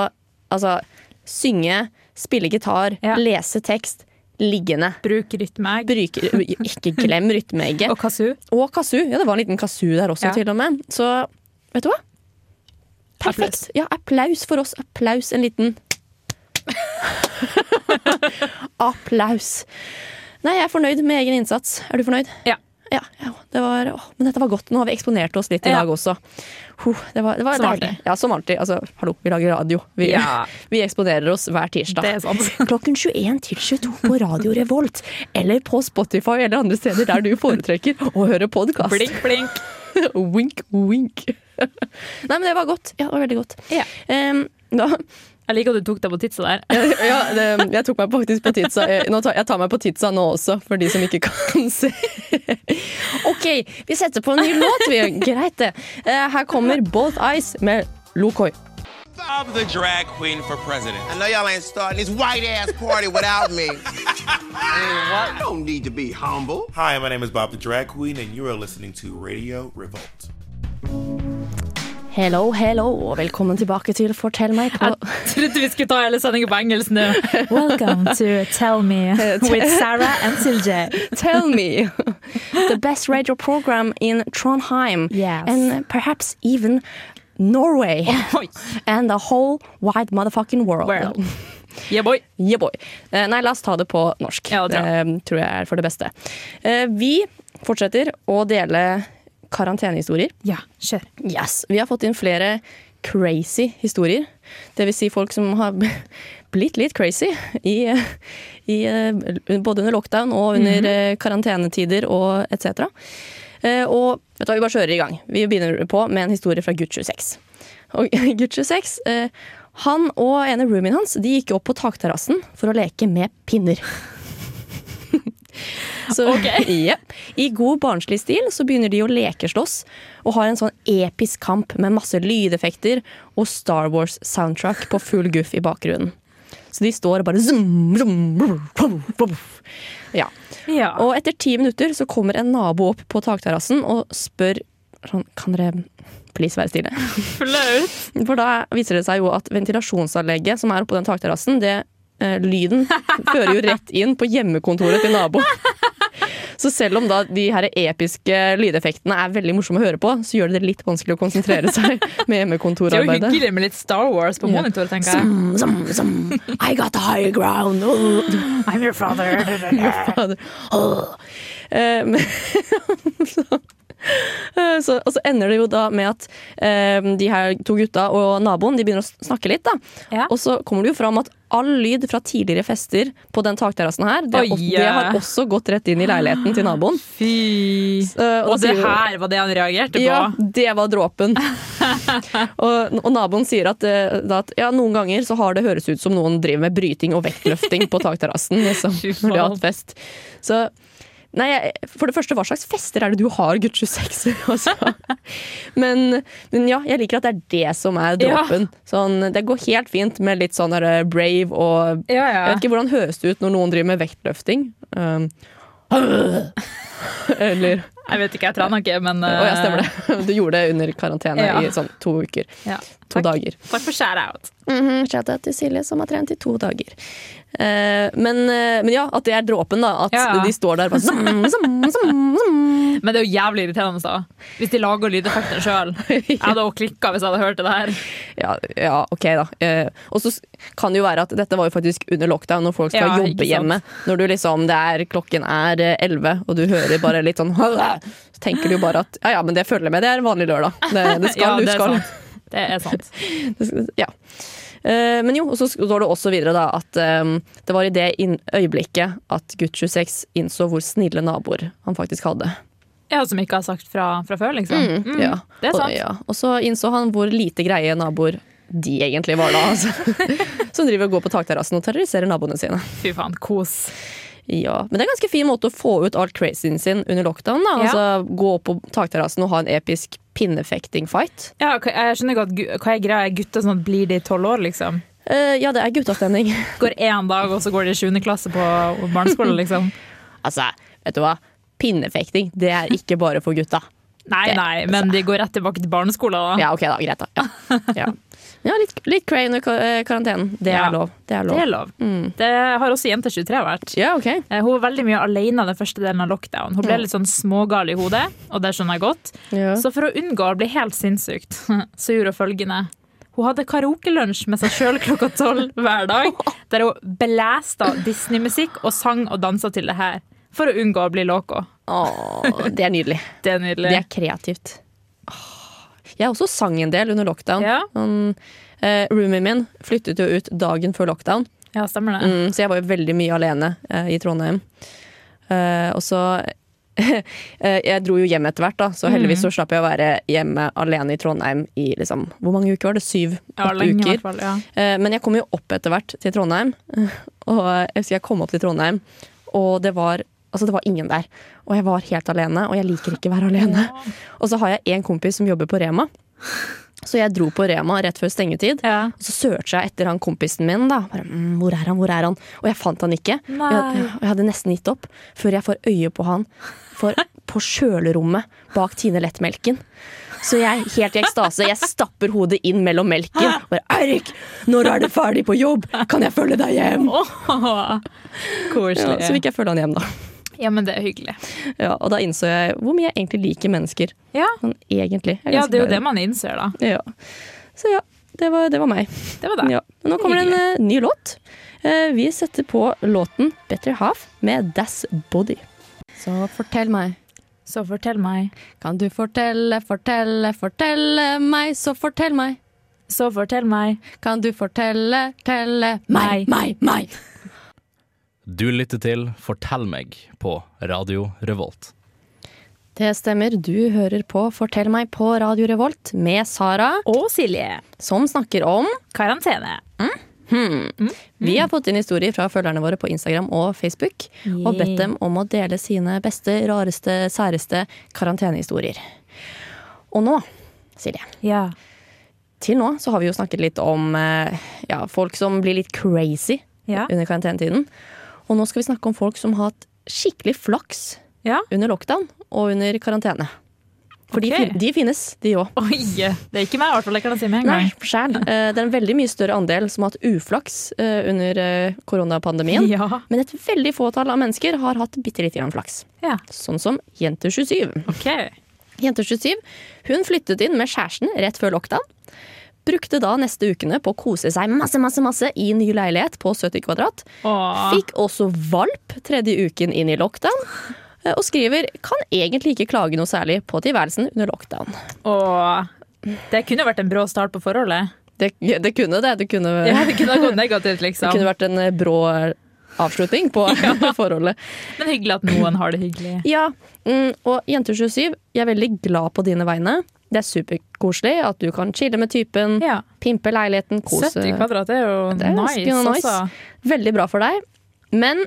Speaker 1: altså Synge, spille gitar,
Speaker 2: Ja.
Speaker 1: lese tekst. Liggende.
Speaker 2: Bruk rytmeegg.
Speaker 1: Bruke, ikke glem rytmeegget.
Speaker 2: Og kazoo.
Speaker 1: Og kazoo. Ja, det var en liten kazoo der også,
Speaker 2: Ja.
Speaker 1: til og med. Så vet du hva? Perfekt. Ja, applaus for oss. Applaus. En liten Applaus. Nei, jeg er fornøyd med egen innsats. Er du fornøyd?
Speaker 2: Ja.
Speaker 1: Ja, ja, det var, åh, men dette var godt. Nå har vi eksponert oss litt i
Speaker 2: Ja.
Speaker 1: dag også. Huh, det var, det var
Speaker 2: Som
Speaker 1: deilig.
Speaker 2: alltid.
Speaker 1: Ja, som alltid. Altså, hallo, vi lager radio. Vi,
Speaker 2: Ja.
Speaker 1: vi eksponerer oss hver tirsdag.
Speaker 2: Det er sant.
Speaker 1: Klokken 21 til 22 på Radio Revolt, eller på Spotify eller andre steder der du foretrekker å høre podkast.
Speaker 2: Blink, blink.
Speaker 1: wink, wink. Nei, men det var godt. Ja, det var veldig godt.
Speaker 2: Ja.
Speaker 1: Em, da,
Speaker 2: Jeg liker at du tok deg på tidsa der.
Speaker 1: ja, det, jeg tok meg faktisk på tidsa. Eh, Nå tar, jeg tar meg på tidsa nå også, for de som ikke kan se. OK, vi setter på en ny låt. Vi. Greit, det. Eh, Her kommer Both Eyes med Lokoi.
Speaker 6: Bob the drag queen for president.
Speaker 7: I know y'all ain't starting this white ass party without me. I don't need to be humble.
Speaker 6: Hi, my name is Bob the drag queen, and you are listening to Radio Revolt.
Speaker 1: Hello, hello, og velkommen tilbake til Fortell meg på
Speaker 2: Jeg trodde vi skulle ta hele sendingen på engelsk nå. Welcome to Tell Me with Sarah and Silje.
Speaker 1: Tell me. The best radio program in Trondheim.
Speaker 2: Yes.
Speaker 1: And perhaps even Norway.
Speaker 2: Oi.
Speaker 1: And the whole wide motherfucking world.
Speaker 2: World. Yeah, boy.
Speaker 1: Yeah, boy. Eh, Nei, la oss ta det på norsk.
Speaker 2: Ja, det tror
Speaker 1: det tror jeg er for det beste. Eh, Vi fortsetter å dele karantenehistorier.
Speaker 2: Ja, kjør.
Speaker 1: Yes, Vi har fått inn flere crazy historier. Det vil si folk som har blitt litt crazy i, i eh, både under lockdown og under eh, karantenetider og etc. Og vet du hva, vi bare kjører i gang. Vi begynner på med en historie fra Gucci 6. Og Gucci 6 eh, han og ene roomien hans de gikk opp på takterrassen for å leke med pinner. Så, jepp. I god barnslig stil så begynner de å lekeslåss og har en sånn episk kamp med masse lydeffekter og Star Wars-soundtrack på full guff i bakgrunnen. Så de står og bare zoom, zoom, brr, brr, brr. Ja.
Speaker 2: Ja.
Speaker 1: Og etter ti minutter så kommer en nabo opp på takterrassen og spør sånn, Kan dere please være stille?
Speaker 2: flaut.
Speaker 1: For da viser det seg jo at ventilasjonsanlegget som er oppå den takterrassen, det eh, lyden fører jo rett inn på hjemmekontoret til naboen. Så selv om da de her episke lydeffektene er veldig morsomme å høre på, så gjør det det litt vanskelig å konsentrere seg med
Speaker 2: Det er jo
Speaker 1: hjemmekontorarbeidet.
Speaker 2: hyggelig med litt Star Wars på monitor, tenker jeg.
Speaker 1: Som, som, I got the high ground. Oh.
Speaker 2: I'm your father.
Speaker 1: Fader. Åh. Eh, men- eh, så, så, og så ender det jo da med at eh, de her to gutta og naboen De begynner å s- snakke litt. da
Speaker 2: Ja.
Speaker 1: Og så kommer det jo fram at all lyd fra tidligere fester på den takterrassen her, det,
Speaker 2: Oi,
Speaker 1: og, det har
Speaker 2: ja.
Speaker 1: også gått rett inn i leiligheten til naboen.
Speaker 2: Fy.
Speaker 1: Eh,
Speaker 2: Og
Speaker 1: da
Speaker 2: det
Speaker 1: sier jo-
Speaker 2: her var det han reagerte på.
Speaker 1: ja, det var dråpen. og, og naboen sier at, eh, da at ja, noen ganger så har det høres ut som noen driver med bryting og vektløfting på takterrassen. Liksom,
Speaker 2: Fy faen.
Speaker 1: når de har hatt fest. Så Nei, jeg- for det første, hva slags fester er det du har, gutt 26? Altså? Men, men ja, jeg liker at det er det som er
Speaker 2: Ja.
Speaker 1: dråpen. Sånn, det går helt fint med litt sånn der, eh, brave og
Speaker 2: Ja, ja.
Speaker 1: Jeg vet ikke hvordan høres det ut når noen driver med vektløfting. Um, eller
Speaker 2: Jeg vet ikke, jeg trener ikke, men
Speaker 1: å ja, stemmer det. Eh, Du gjorde det under karantene
Speaker 2: Ja.
Speaker 1: i sånn to uker.
Speaker 2: eh, Ja.
Speaker 1: To
Speaker 2: Takk.
Speaker 1: dager.
Speaker 2: Takk for shout-out.
Speaker 1: Shout-out Mm-hmm. til Silje som har trent i to dager. Eh, men, eh, men ja, at det er dråpen, da. At
Speaker 2: Ja, ja.
Speaker 1: de står der bare zoom, zoom, zoom, zoom.
Speaker 2: Men det er jo jævlig irriterende, da. Hvis de lager lydeffekter sjøl. Jeg hadde også klikka hvis jeg hadde hørt det der.
Speaker 1: Ja, ja, ok, da. Eh, og så s- kan det jo være at dette var jo faktisk under lockdown, når folk skal
Speaker 2: Ja, ikke
Speaker 1: jobbe
Speaker 2: sant.
Speaker 1: hjemme. Når du liksom, det er, klokken er eh, 11, og du hører bare litt sånn Så tenker du jo bare at ja, ja, men det følger med, det er en vanlig lørdag. Det, det skal,
Speaker 2: ja,
Speaker 1: du
Speaker 2: det er
Speaker 1: skal.
Speaker 2: sant. Det er sant.
Speaker 1: Ja. Eh, Men jo, og så står det også videre da at eh, det var i det inn- øyeblikket at gutt 26 innså hvor snille naboer han faktisk hadde.
Speaker 2: Ja, som ikke har sagt fra, fra før, liksom. Mm,
Speaker 1: Ja.
Speaker 2: Det er
Speaker 1: Og,
Speaker 2: sant.
Speaker 1: ja. og så innså han hvor lite greie naboer de egentlig var da, altså. Som driver og går på takterrassen og terroriserer naboene sine.
Speaker 2: Fy faen, kos.
Speaker 1: Ja, Men det er en ganske fin måte å få ut all crazyen sin under lockdown. da
Speaker 2: Ja.
Speaker 1: Altså Gå opp på takterrassen og ha en episk pinnefekting-fight.
Speaker 2: Ja, ok, jeg skjønner ikke at gu- hva er greia. Er gutter sånn at blir de tolv år, liksom?
Speaker 1: Eh, ja, det er guttastemning.
Speaker 2: Går én dag, og så går de i sjuende klasse på barneskole, liksom?
Speaker 1: Altså, vet du hva? Pinnefekting, det er ikke bare for gutta.
Speaker 2: Nei,
Speaker 1: Det-
Speaker 2: nei, men de går rett tilbake til barneskolen, da.
Speaker 1: Ja, ok da, greit da. Ja, ja. ja litt, litt cray under ka- eh, karantenen. Det
Speaker 2: Ja.
Speaker 1: er lov. Det er lov. Mm.
Speaker 2: Det er lov. Det har også jente 23 vært.
Speaker 1: Ja, ok.
Speaker 2: Eh, Hun var veldig mye alene den første delen av lockdown. Hun ble litt sånn smågal i hodet, og det skjønner jeg godt.
Speaker 1: Ja.
Speaker 2: Så for å unngå å bli helt sinnssykt, så gjorde hun følgende. Hun hadde karaokelunsj med seg sjøl klokka tolv hver dag, der hun belæsta Disney-musikk og sang og dansa til det her. For å unngå å bli loco.
Speaker 1: Åh, det er nydelig.
Speaker 2: Det er
Speaker 1: Det
Speaker 2: nydelig.
Speaker 1: er kreativt. Åh. Jeg også sang en del under lockdown.
Speaker 2: Ja.
Speaker 1: Sånn, eh, roomien min flyttet jo ut dagen før lockdown,
Speaker 2: Ja, stemmer det.
Speaker 1: mm, så jeg var jo veldig mye alene eh, i Trondheim. Eh, og så eh, Jeg dro jo hjem etter hvert, da, så
Speaker 2: Mm.
Speaker 1: heldigvis så slapp jeg å være hjemme alene i Trondheim i liksom, hvor mange uker var det? Syv?
Speaker 2: Ja,
Speaker 1: åtte
Speaker 2: lenge i
Speaker 1: uker?
Speaker 2: hvert fall. Ja.
Speaker 1: Eh, Men jeg kom jo opp etter hvert til Trondheim. Og jeg husker jeg kom opp til Trondheim, og det var, altså det var ingen der. Og jeg var helt alene, og jeg liker ikke å være alene. Og så har jeg en kompis som jobber på Rema. Så jeg dro på Rema rett før stengetid.
Speaker 2: Ja.
Speaker 1: Og så searcha jeg etter han kompisen min. da Bare, mm, hvor er han, hvor er han? Og jeg fant han ikke. Og jeg,
Speaker 2: Nei.
Speaker 1: og jeg hadde nesten gitt opp før jeg får øye på han for, på kjølerommet bak Tine Lettmelken. Så jeg helt i ekstase Jeg stapper hodet inn mellom melken. Og bare, Eirik, når er du ferdig på jobb? Kan jeg følge deg hjem?
Speaker 2: Åh,
Speaker 1: Ja, så
Speaker 2: koselig.
Speaker 1: fikk jeg følge han hjem, da.
Speaker 2: Ja, men det er hyggelig.
Speaker 1: Ja, og da innså jeg hvor mye jeg egentlig liker mennesker.
Speaker 2: Ja,
Speaker 1: Sånn egentlig. Jeg
Speaker 2: ja det er jo det
Speaker 1: ganske
Speaker 2: man innser, da.
Speaker 1: glad i dem. Ja. Så ja, det var, det var meg.
Speaker 2: Det var det.
Speaker 1: Ja. Men nå kommer det en eh, ny låt. Eh, vi setter på låten 'Better Half' med Das Body.
Speaker 8: Så fortell meg.
Speaker 2: Så fortell meg,
Speaker 8: Kan du fortelle, fortelle, fortelle meg, så fortell meg.
Speaker 2: så fortell meg.
Speaker 8: Kan du fortelle, telle meg, meg, meg.
Speaker 4: Du lytter til Fortell meg på Radio Revolt.
Speaker 1: Det stemmer, du hører på 'Fortell meg' på Radio Revolt med Sara,
Speaker 2: Og Silje.
Speaker 1: som snakker om
Speaker 2: Karantene.
Speaker 1: Vi
Speaker 2: Mm.
Speaker 1: har fått inn historier fra følgerne våre på Instagram og Facebook, og bedt dem om å dele sine beste, rareste, særeste karantenehistorier. Og nå, Silje,
Speaker 2: Ja.
Speaker 1: til nå så har vi jo snakket litt om eh, ja, folk som blir litt crazy
Speaker 2: Ja.
Speaker 1: under karantenetiden. Og nå skal vi snakke om folk som har hatt skikkelig flaks
Speaker 2: ja.
Speaker 1: under lockdown og under karantene. For de,
Speaker 2: Ok.
Speaker 1: fin- de finnes, de òg.
Speaker 2: Oi! Det er ikke meg, i hvert fall. Jeg kan si med en
Speaker 1: Nei,
Speaker 2: gang.
Speaker 1: sjæl. Eh, Det er en veldig mye større andel som har hatt uflaks eh, under eh, koronapandemien.
Speaker 2: Ja.
Speaker 1: Men et veldig fåtall av mennesker har hatt bitte lite grann flaks.
Speaker 2: ja.
Speaker 1: Sånn som Jente 27.
Speaker 2: OK.
Speaker 1: Jente 27 hun flyttet inn med kjæresten rett før lockdown. Brukte da neste ukene på å kose seg masse masse, masse i ny leilighet på 70 kvadrat.
Speaker 2: Åh.
Speaker 1: Fikk også valp tredje uken inn i lockdown. eh, Og skriver kan egentlig ikke klage noe særlig på tilværelsen under lockdown.
Speaker 2: Åh. Det kunne vært en brå start på forholdet.
Speaker 1: Det, det kunne det. Det kunne,
Speaker 2: Ja, Det kunne ha gått negativt,
Speaker 1: det
Speaker 2: liksom.
Speaker 1: kunne vært en eh, brå avslutning på forholdet.
Speaker 2: Men hyggelig at noen har det hyggelig.
Speaker 1: Ja, mm, og Jente27, jeg er veldig glad på dine vegne. Det er superkoselig at du kan chille med typen,
Speaker 2: Ja.
Speaker 1: pimpe leiligheten, kose.
Speaker 2: 70 kvadrat er jo
Speaker 1: Det er
Speaker 2: nice,
Speaker 1: ganske nice.
Speaker 2: altså.
Speaker 1: Veldig bra for deg. Men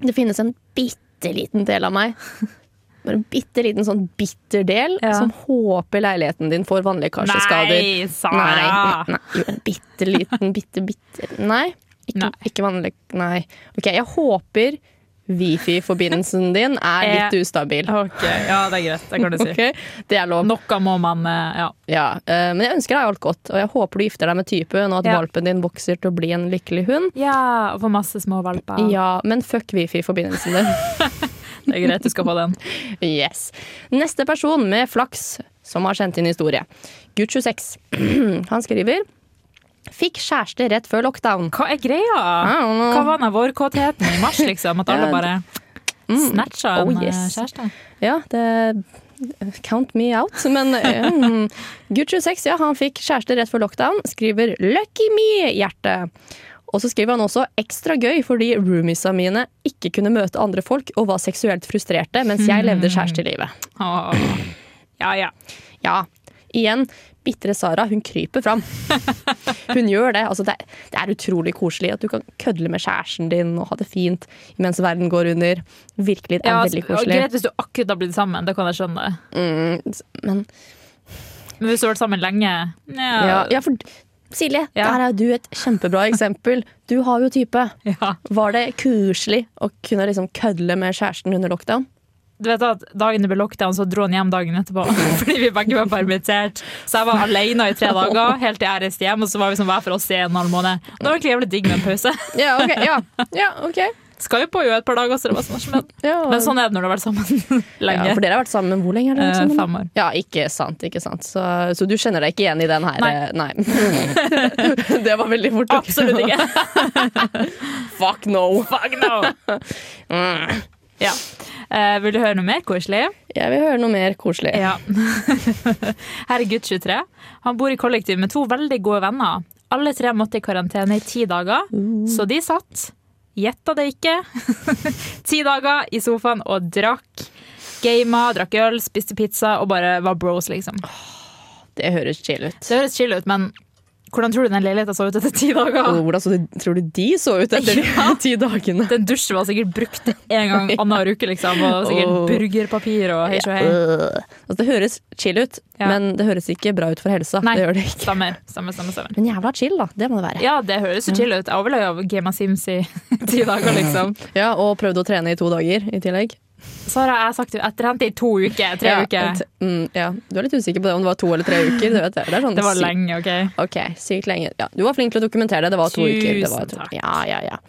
Speaker 1: det finnes en bitte liten del av meg. Bare en bitte liten sånn bitter del
Speaker 2: Ja.
Speaker 1: som håper leiligheten din får vannlekkasjeskader.
Speaker 2: Nei, Sara!
Speaker 1: Nei, nei, nei. Jo, en bitte liten, bitte, bitte Nei, ikke,
Speaker 2: Nei.
Speaker 1: ikke vannlek... Nei. Ok, jeg håper wifi-forbindelsen din er litt
Speaker 2: Eh,
Speaker 1: ustabil.
Speaker 2: Ok, Ja, det er greit. Det kan du si.
Speaker 1: Ok, Det er lov.
Speaker 2: Noe må man eh, Ja.
Speaker 1: Ja. eh, Men jeg ønsker deg alt godt, og jeg håper du gifter deg med typen, og at
Speaker 2: Ja.
Speaker 1: valpen din vokser til å bli en lykkelig hund.
Speaker 2: ja og få masse små valper.
Speaker 1: Ja, men fuck wifi-forbindelsen din.
Speaker 2: Det er greit, du skal få den.
Speaker 1: Yes. Neste person med flaks som har sendt inn historie. Gutt 26. Han skriver Fikk kjæreste rett før lockdown.
Speaker 2: Hva er greia?
Speaker 1: don't know.
Speaker 2: Hva var den vårkåtheten i mars, liksom? At alle
Speaker 1: Ja,
Speaker 2: bare snatcha en
Speaker 1: Oh,
Speaker 2: eh,
Speaker 1: yes.
Speaker 2: kjæreste?
Speaker 1: Ja, det Count me out. Men mm, gutt 26, ja, han fikk kjæreste rett før lockdown. Skriver 'lucky me', hjerte. Og så skriver han også 'ekstra gøy' fordi roomiesa mine ikke kunne møte andre folk og var seksuelt frustrerte mens jeg levde kjærestelivet.
Speaker 2: Åh. Ja, ja.
Speaker 1: Ja, igjen, bitre Sara, hun kryper fram. Hun gjør det. Altså, det, er, det er utrolig koselig at du kan kødle med kjæresten din og ha det fint mens verden går under. Virkelig, det er
Speaker 2: ja
Speaker 1: veldig
Speaker 2: altså,
Speaker 1: koselig.
Speaker 2: greit hvis du akkurat har blitt sammen, det kan jeg skjønne.
Speaker 1: Mm, Men
Speaker 2: Men hvis du har vært sammen lenge ja.
Speaker 1: ja, ja for Silje,
Speaker 2: Ja.
Speaker 1: der er du et kjempebra eksempel. Du har jo type.
Speaker 2: Ja.
Speaker 1: Var det koselig å kunne liksom kødle med kjæresten under lockdown?
Speaker 2: Du vet at Dagen det ble lockdown, så dro han hjem dagen etterpå. Fordi vi begge var permittert. Så jeg var alene i tre dager, helt til jeg reiste hjem. Og så var vi som hver for oss i en og en halv måned. Det var egentlig jævlig digg med en pause.
Speaker 1: Ja, ok. Ja, ja, ok.
Speaker 2: Skal jo på jo et par dager, så det var sånn men,
Speaker 1: Ja.
Speaker 2: men sånn er det når du har vært sammen lenge.
Speaker 1: Ja, for dere har vært sammen hvor lenge? har dere vært
Speaker 2: Eh,
Speaker 1: sammen?
Speaker 2: fem år.
Speaker 1: Ja, ikke sant, ikke sant. Så, så du kjenner deg ikke igjen i den her?
Speaker 2: Nei.
Speaker 1: eh, Nei. det var veldig fort. gjort.
Speaker 2: Absolutt ikke.
Speaker 1: Fuck no. Mm.
Speaker 2: Fuck no! Ja. Eh, vil du høre noe mer koselig?
Speaker 1: Jeg vil høre noe mer koselig.
Speaker 2: Ja. Her er gutt 23. Han bor i kollektiv med to veldig gode venner. Alle tre måtte i karantene i ti dager,
Speaker 1: Uh.
Speaker 2: så de satt, gjetta det ikke, ti dager i sofaen og drakk. Gama, drakk øl, spiste pizza og bare var bros, liksom.
Speaker 1: Det høres chill ut.
Speaker 2: Det høres chill ut, men hvordan tror du den leiligheta så ut etter ti dager?
Speaker 1: Og Hvordan så du, tror du de så ut etter
Speaker 2: Ja.
Speaker 1: de ti dagene?
Speaker 2: Den dusjen var sikkert brukt en gang annenhver uke, liksom, og sikkert
Speaker 1: Åh.
Speaker 2: burgerpapir og hei så hei.
Speaker 1: Øh. Altså, det høres chill ut,
Speaker 2: Ja.
Speaker 1: men det høres ikke bra ut for helsa.
Speaker 2: Nei,
Speaker 1: Det gjør det ikke.
Speaker 2: stemmer. stemmer, stemmer, stemmer.
Speaker 1: Men jævla chill, da. Det må det være.
Speaker 2: Ja, det høres jo chill ut. Jeg overlevde av Game of Sims i ti dager, liksom.
Speaker 1: Ja, og prøvd å trene i to dager i tillegg.
Speaker 2: Sara, jeg har sagt jo, jeg trente i to uker, tre
Speaker 1: ja,
Speaker 2: uker.
Speaker 1: et- Mm, ja. Du er litt usikker på det om det var to eller tre uker. Det, vet jeg. det er sånn
Speaker 2: Det var
Speaker 1: sykt-
Speaker 2: lenge, OK?
Speaker 1: Ok, sykt lenge. Ja, du var flink til å dokumentere det. Det var to
Speaker 2: Tusen
Speaker 1: uker. Det var to.
Speaker 2: takk.
Speaker 1: Ja, ja, ja.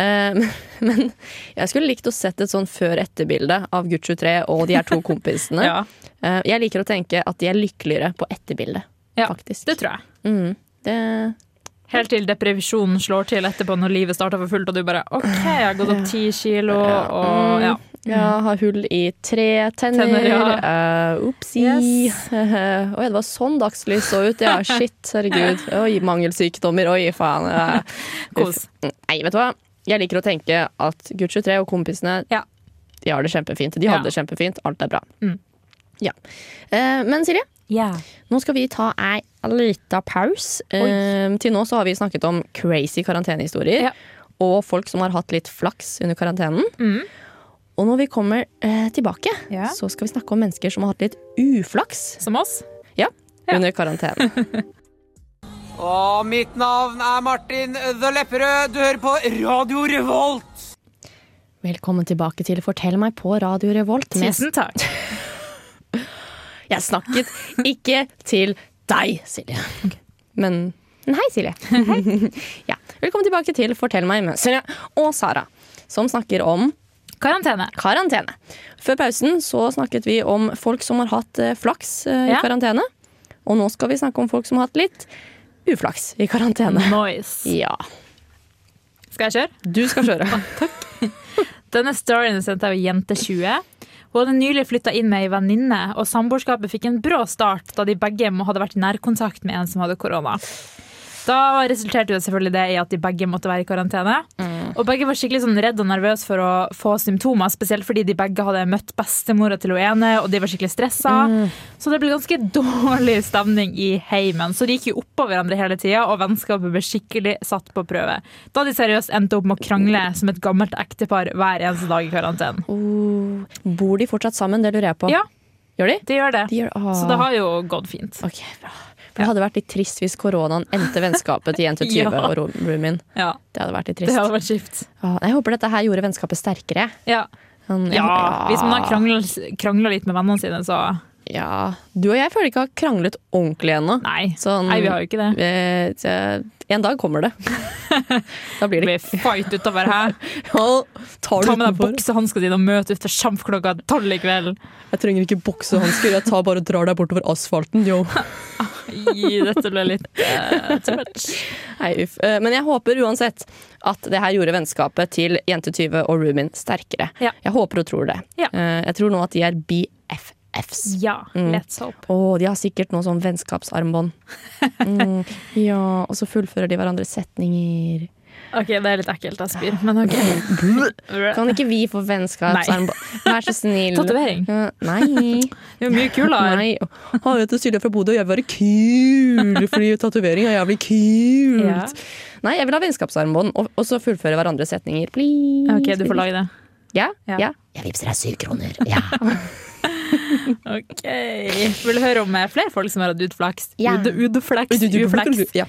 Speaker 1: Eh, men jeg skulle likt å sett et sånn før-etter-bilde av Gutt 23 og de her to kompisene.
Speaker 2: Ja,
Speaker 1: Eh, Jeg liker å tenke at de er lykkeligere på etterbildet,
Speaker 2: ja
Speaker 1: faktisk.
Speaker 2: det Mm. tror jeg.
Speaker 1: Det,
Speaker 2: Helt til depresjonen slår til etterpå når livet starter for fullt, og du bare OK, jeg har gått opp ti kilo, og ja.
Speaker 1: jeg har hull i tre tenner.
Speaker 2: Tenner,
Speaker 1: ja. Opsi.
Speaker 2: Yes.
Speaker 1: Oi, det var sånn dagslys så ut. Ja, shit. Herregud. Oi, mangelsykdommer. Oi, faen. Ja.
Speaker 2: Kos.
Speaker 1: Nei, vet du hva? Jeg liker å tenke at Gutt 23 og kompisene
Speaker 2: Ja.
Speaker 1: De har det kjempefint. De
Speaker 2: Ja.
Speaker 1: hadde det kjempefint. Alt er bra.
Speaker 2: Mm.
Speaker 1: Ja. Eh, men Silje, nå skal vi ta ei lita pause. Eh, til nå så har vi snakket om crazy karantenehistorier.
Speaker 2: Ja.
Speaker 1: Og folk som har hatt litt flaks under karantenen.
Speaker 2: Mm.
Speaker 1: Og når vi kommer eh, tilbake,
Speaker 2: Ja.
Speaker 1: så skal vi snakke om mennesker som har hatt litt uflaks
Speaker 2: Som oss.
Speaker 1: under karantenen.
Speaker 9: Og mitt navn er Martin The Lepperød. Du hører på Radio Revolt.
Speaker 1: Velkommen tilbake til Fortell meg på Radio Revolt. Med
Speaker 2: Tusen takk.
Speaker 1: Jeg snakket ikke til deg, Silje. Men men hei, Silje. ja. Velkommen tilbake til Fortell meg med Silje og Sara, som snakker om
Speaker 2: Karantene.
Speaker 1: karantene. Før pausen så snakket vi om folk som har hatt eh, flaks eh, i
Speaker 2: Ja.
Speaker 1: karantene. Og nå skal vi snakke om folk som har hatt litt uflaks i karantene.
Speaker 2: Nice.
Speaker 1: Ja.
Speaker 2: Skal jeg kjøre?
Speaker 1: Du skal kjøre.
Speaker 2: Denne storyen sendte jeg av jente 20. Hun hadde nylig flytta inn med ei venninne, og samboerskapet fikk en brå start da de begge må- hadde vært i nærkontakt med en som hadde korona. Da resulterte jo selvfølgelig det i at de begge måtte være i karantene. Og begge var skikkelig sånn redd og nervøs for å få symptomer, spesielt fordi de begge hadde møtt bestemora til hun ene, og de var skikkelig stressa. Så det ble ganske dårlig stemning i heimen. Så de gikk jo oppå hverandre hele tida, og vennskapet ble skikkelig satt på prøve. Da de seriøst endte opp med å krangle som et gammelt ektepar hver eneste dag i karantenen.
Speaker 1: Bor de fortsatt sammen? Det lurer jeg på.
Speaker 2: Ja,
Speaker 1: Gjør de?
Speaker 2: de gjør det.
Speaker 1: de gjør, ah.
Speaker 2: Så det har jo gått fint.
Speaker 1: Ok, bra. For det hadde vært litt trist hvis koronaen endte vennskapet til 1-20
Speaker 2: Ja.
Speaker 1: og ro- roomien.
Speaker 2: Ja,
Speaker 1: Det hadde vært litt
Speaker 2: Det
Speaker 1: trist.
Speaker 2: hadde vært kjipt.
Speaker 1: Ah, Jeg håper dette her gjorde vennskapet sterkere.
Speaker 2: Ja.
Speaker 1: Sånn,
Speaker 2: ja,
Speaker 1: ja.
Speaker 2: hvis man har krangla- krangla litt med vennene sine, så
Speaker 1: Ja. Du og jeg føler ikke har kranglet ordentlig ennå.
Speaker 2: nei.
Speaker 1: Sånn-
Speaker 2: Nei, vi har jo ikke det.
Speaker 1: Eh, så- En dag kommer det. da blir det
Speaker 2: Det blir fight utover her.
Speaker 1: Å, tar du
Speaker 2: Ta med deg
Speaker 1: utenfor?
Speaker 2: boksehanska dine og møt ut for Champ klokka tolv i kveld.
Speaker 1: Jeg trenger ikke boksehansker, jeg tar bare og drar deg bortover asfalten. Yo.
Speaker 2: I, dette ble litt eh, too much.
Speaker 1: Nei, uff. Eh, Men jeg håper uansett at det her gjorde vennskapet til Jente20 og roomien sterkere.
Speaker 2: Ja.
Speaker 1: Jeg håper og tror det.
Speaker 2: Ja.
Speaker 1: Eh, Jeg tror nå at de er BFFs.
Speaker 2: Ja,
Speaker 1: Mm.
Speaker 2: let's hope.
Speaker 1: Å, de har sikkert noe sånn vennskapsarmbånd. Mm, ja, og så fullfører de hverandres setninger.
Speaker 2: Ok, det er litt ekkelt, jeg spyr, men ok.
Speaker 1: Kan ikke vi få vennskapsarmbånd? Vær så snill.
Speaker 2: Tatovering.
Speaker 1: Eh, Nei.
Speaker 2: Det er jo mye kulere.
Speaker 1: Nei. Han heter Silje fra Bodø, og jeg vil være kul fordi tatovering er jævlig kult.
Speaker 2: Ja.
Speaker 1: Nei, jeg vil ha vennskapsarmbånd, og, og så fullføre hverandres setninger. Please.
Speaker 2: Ok, du får lage det.
Speaker 1: Ja,
Speaker 2: Ja.
Speaker 1: ja. Jeg vippser deg syv kroner. Ja.
Speaker 2: Ok. Vil du høre om eh, flere folk som har hatt utflaks?
Speaker 1: Ja.
Speaker 2: Ude- Udflaks, uflaks.
Speaker 1: Ja.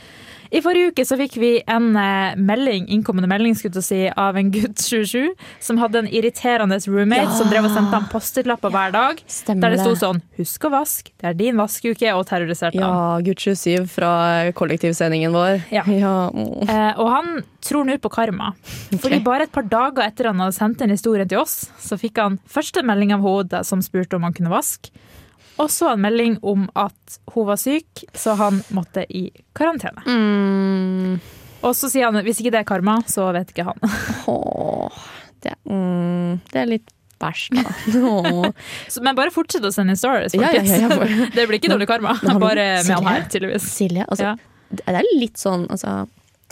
Speaker 2: I forrige uke så fikk vi en eh, melding, innkommende melding skulle jeg til å si, av en gutt 27 som hadde en irriterende roommate som drev og sendte ham post-it-lapper hver dag.
Speaker 1: Stemmer
Speaker 2: Der det sto
Speaker 1: det.
Speaker 2: sånn 'Husk å vaske. Det er din vaskeuke.' og terroriserte
Speaker 1: ja,
Speaker 2: ham.
Speaker 1: Gutt 27 fra kollektivsendingen vår.
Speaker 2: Ja.
Speaker 1: mm.
Speaker 2: Eh, og han tror nå på karma. Fordi bare et par dager etter han hadde sendt inn historien til oss, så fikk han først en melding av hodet som spurte om han kunne vaske, og så en melding om at hun var syk, så han måtte i karantene.
Speaker 1: Mm.
Speaker 2: Og så sier han at hvis ikke det er karma, så vet ikke han.
Speaker 1: Åh, det, mm, det er litt bæsj, da. Åh.
Speaker 2: Så, men bare fortsett å sende inn stories,
Speaker 1: Ja, ja,
Speaker 2: folkens.
Speaker 1: ja, ja, bare-
Speaker 2: Det blir ikke dårlig karma,
Speaker 1: har du-
Speaker 2: bare med han
Speaker 1: Silje?
Speaker 2: her, tydeligvis.
Speaker 1: Silje, altså,
Speaker 2: Ja.
Speaker 1: det er litt sånn altså,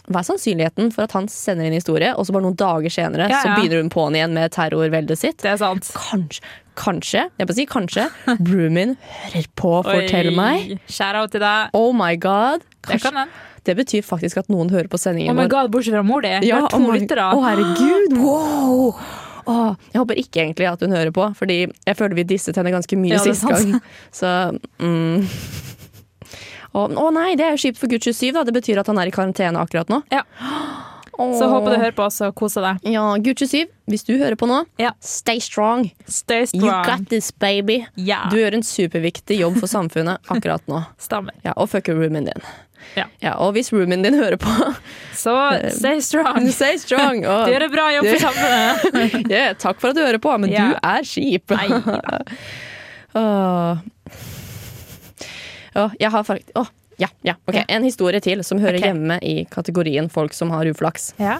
Speaker 1: Hva er sannsynligheten for at han sender inn historie, og så bare noen dager senere
Speaker 2: Ja,
Speaker 1: så
Speaker 2: ja.
Speaker 1: begynner hun på'n igjen med terrorveldet sitt?
Speaker 2: Det er sant.
Speaker 1: Kanskje, kanskje, jeg må si kanskje, Brumin hører på Fortell
Speaker 2: Oi,
Speaker 1: meg.
Speaker 2: Shout out til deg.
Speaker 1: Oh my god.
Speaker 2: Det
Speaker 1: Kanskje,
Speaker 2: kan hende.
Speaker 1: det betyr faktisk at noen hører på
Speaker 2: Oh
Speaker 1: sendingen
Speaker 2: my
Speaker 1: vår.
Speaker 2: god, bortsett fra mor di. Vi har to
Speaker 1: oh my-
Speaker 2: lyttere.
Speaker 1: Å, herregud, wow! Å, jeg håper ikke egentlig at hun hører på, Fordi jeg føler vi disset henne ganske mye
Speaker 2: Ja, det er
Speaker 1: sist gang. Så mm. Å å nei, det er jo kjipt for gutt 27, da. Det betyr at han er i karantene akkurat nå.
Speaker 2: Ja.
Speaker 1: Å.
Speaker 2: Så håper du hører på oss og koser deg.
Speaker 1: Ja, gutt 27, hvis du hører på nå,
Speaker 2: Ja.
Speaker 1: stay strong.
Speaker 2: Stay
Speaker 1: You
Speaker 2: strong.
Speaker 1: got this, baby.
Speaker 2: Ja.
Speaker 1: Du gjør en superviktig jobb for samfunnet akkurat nå.
Speaker 2: Stemmer.
Speaker 1: Ja, Og fucker roomien din.
Speaker 2: Ja.
Speaker 1: Og hvis roomien din hører på,
Speaker 2: Så
Speaker 1: Eh,
Speaker 2: stay strong.
Speaker 1: stay strong. Og
Speaker 2: Du gjør en bra jobb for samfunnet.
Speaker 1: Yeah, takk for at du hører på, men
Speaker 2: Ja.
Speaker 1: du er kjip.
Speaker 2: Nei,
Speaker 1: Åh. Åh, jeg har faktisk Åh, Ja, ja, ok. En historie til som hører
Speaker 2: Ok.
Speaker 1: hjemme i kategorien folk som har uflaks.
Speaker 2: Ja.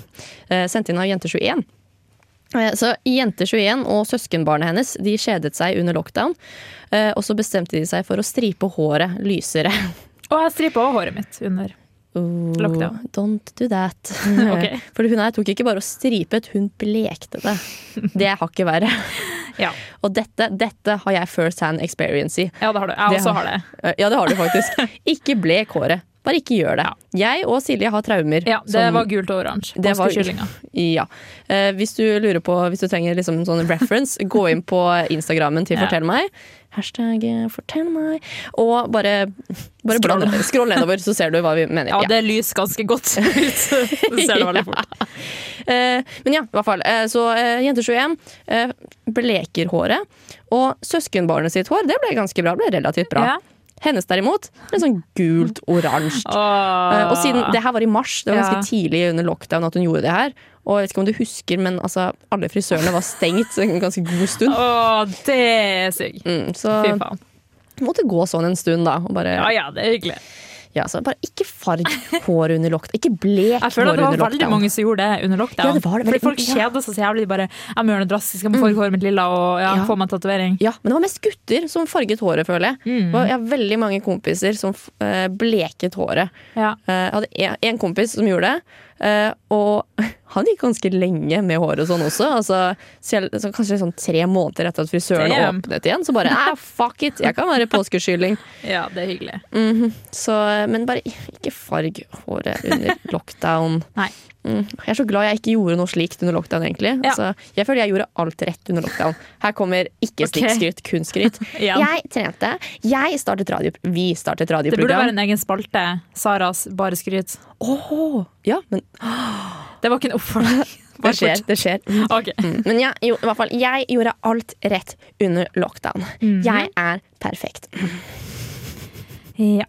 Speaker 1: eh, sendt inn av Jente21. Eh, Så Jente21 og søskenbarnet hennes de kjedet seg under lockdown. eh, Og så bestemte de seg for å stripe håret lysere.
Speaker 2: Og jeg stripa også håret mitt under.
Speaker 1: Ooh,
Speaker 2: Lockdown.
Speaker 1: Don't do that.
Speaker 2: ok.
Speaker 1: For hun her tok ikke bare og stripet, hun blekte det. Det er hakket verre.
Speaker 2: Ja,
Speaker 1: Og dette, dette har jeg first hand experience i.
Speaker 2: ja det har du. Jeg
Speaker 1: Det
Speaker 2: også
Speaker 1: har-
Speaker 2: har det.
Speaker 1: Eh, Ja, det har du faktisk. Ikke blek håret. Bare ikke gjør det. Jeg og Silje har traumer.
Speaker 2: Ja, det
Speaker 1: som-
Speaker 2: var gult og oransje.
Speaker 1: Det var-
Speaker 2: Påskekyllinga.
Speaker 1: Ja. Eh, hvis du lurer på, hvis du trenger liksom en sånn reference, gå inn på Instagrammen til
Speaker 2: Ja.
Speaker 1: Fortell meg. Hashtag eh, fortell meg. Og bare, bare bla- scroll nedover, så ser du hva vi mener.
Speaker 2: Ja,
Speaker 1: Ja.
Speaker 2: det lyser ganske godt ut. Du ser det veldig fort.
Speaker 1: Eh, men ja, i hvert fall. Eh, så eh, Jente21 eh, bleker håret. Og søskenbarnet sitt hår, det ble ganske bra. Ble relativt bra.
Speaker 2: Ja.
Speaker 1: Hennes derimot, ble sånn gult-oransje. Eh, Og siden det her var i mars, det var
Speaker 2: Ja.
Speaker 1: ganske tidlig under lockdown at hun gjorde det her. Og jeg vet ikke om du husker, men altså, alle frisørene var stengt en ganske god stund.
Speaker 2: Å, det er sykt.
Speaker 1: Mm, så
Speaker 2: Fy faen.
Speaker 1: måtte gå sånn en stund, da. Og bare, ja.
Speaker 2: Ja ja, det er hyggelig.
Speaker 1: så bare ikke farg hår under lockdown. Ikke blek
Speaker 2: Jeg
Speaker 1: hår
Speaker 2: føler at det var
Speaker 1: under
Speaker 2: veldig
Speaker 1: lockdown.
Speaker 2: mange som gjorde det under lockdown.
Speaker 1: Ja, det var det, veldig-
Speaker 2: Fordi folk
Speaker 1: ja. Mm.
Speaker 2: kjeder seg så jævlig. De bare 'Jeg må gjøre noe drastisk, jeg må farge håret mitt lilla og ja,
Speaker 1: Ja.
Speaker 2: få meg en tatovering'.
Speaker 1: Ja, Men det var mest gutter som farget håret, føler jeg. Og Jeg har veldig mange kompiser som f- eh, bleket håret.
Speaker 2: Ja.
Speaker 1: Eh, Jeg hadde en- en kompis som gjorde det, eh, og han gikk ganske lenge med håret og sånn også. Altså, selv, så kanskje sånn tre måneder etter at frisøren
Speaker 2: Damn.
Speaker 1: åpnet igjen. Så bare eh, fuck it, jeg kan være påskeskylling.
Speaker 2: ja, det er hyggelig.
Speaker 1: Så, eh, men bare ikke farg håret under lockdown.
Speaker 2: Nei.
Speaker 1: Mm, Jeg er så glad jeg ikke gjorde noe slikt under lockdown, egentlig.
Speaker 2: Ja.
Speaker 1: Altså, jeg føler jeg gjorde alt rett under lockdown. Her kommer ikke
Speaker 2: Ok.
Speaker 1: stikkskryt, kun skryt.
Speaker 2: Igjen.
Speaker 1: Jeg trente, jeg startet radio, vi startet
Speaker 2: Det burde være
Speaker 1: radioprogram.
Speaker 2: en egen spalte. Saras bare skryt.
Speaker 1: Åh, ja, men
Speaker 2: Det var ikke en oppfordring.
Speaker 1: det skjer, Mm. det skjer.
Speaker 2: Ok.
Speaker 1: Men jeg, jo, i hvert fall, jeg gjorde alt rett under lockdown.
Speaker 2: Mhm.
Speaker 1: Jeg er perfekt.
Speaker 2: Ja.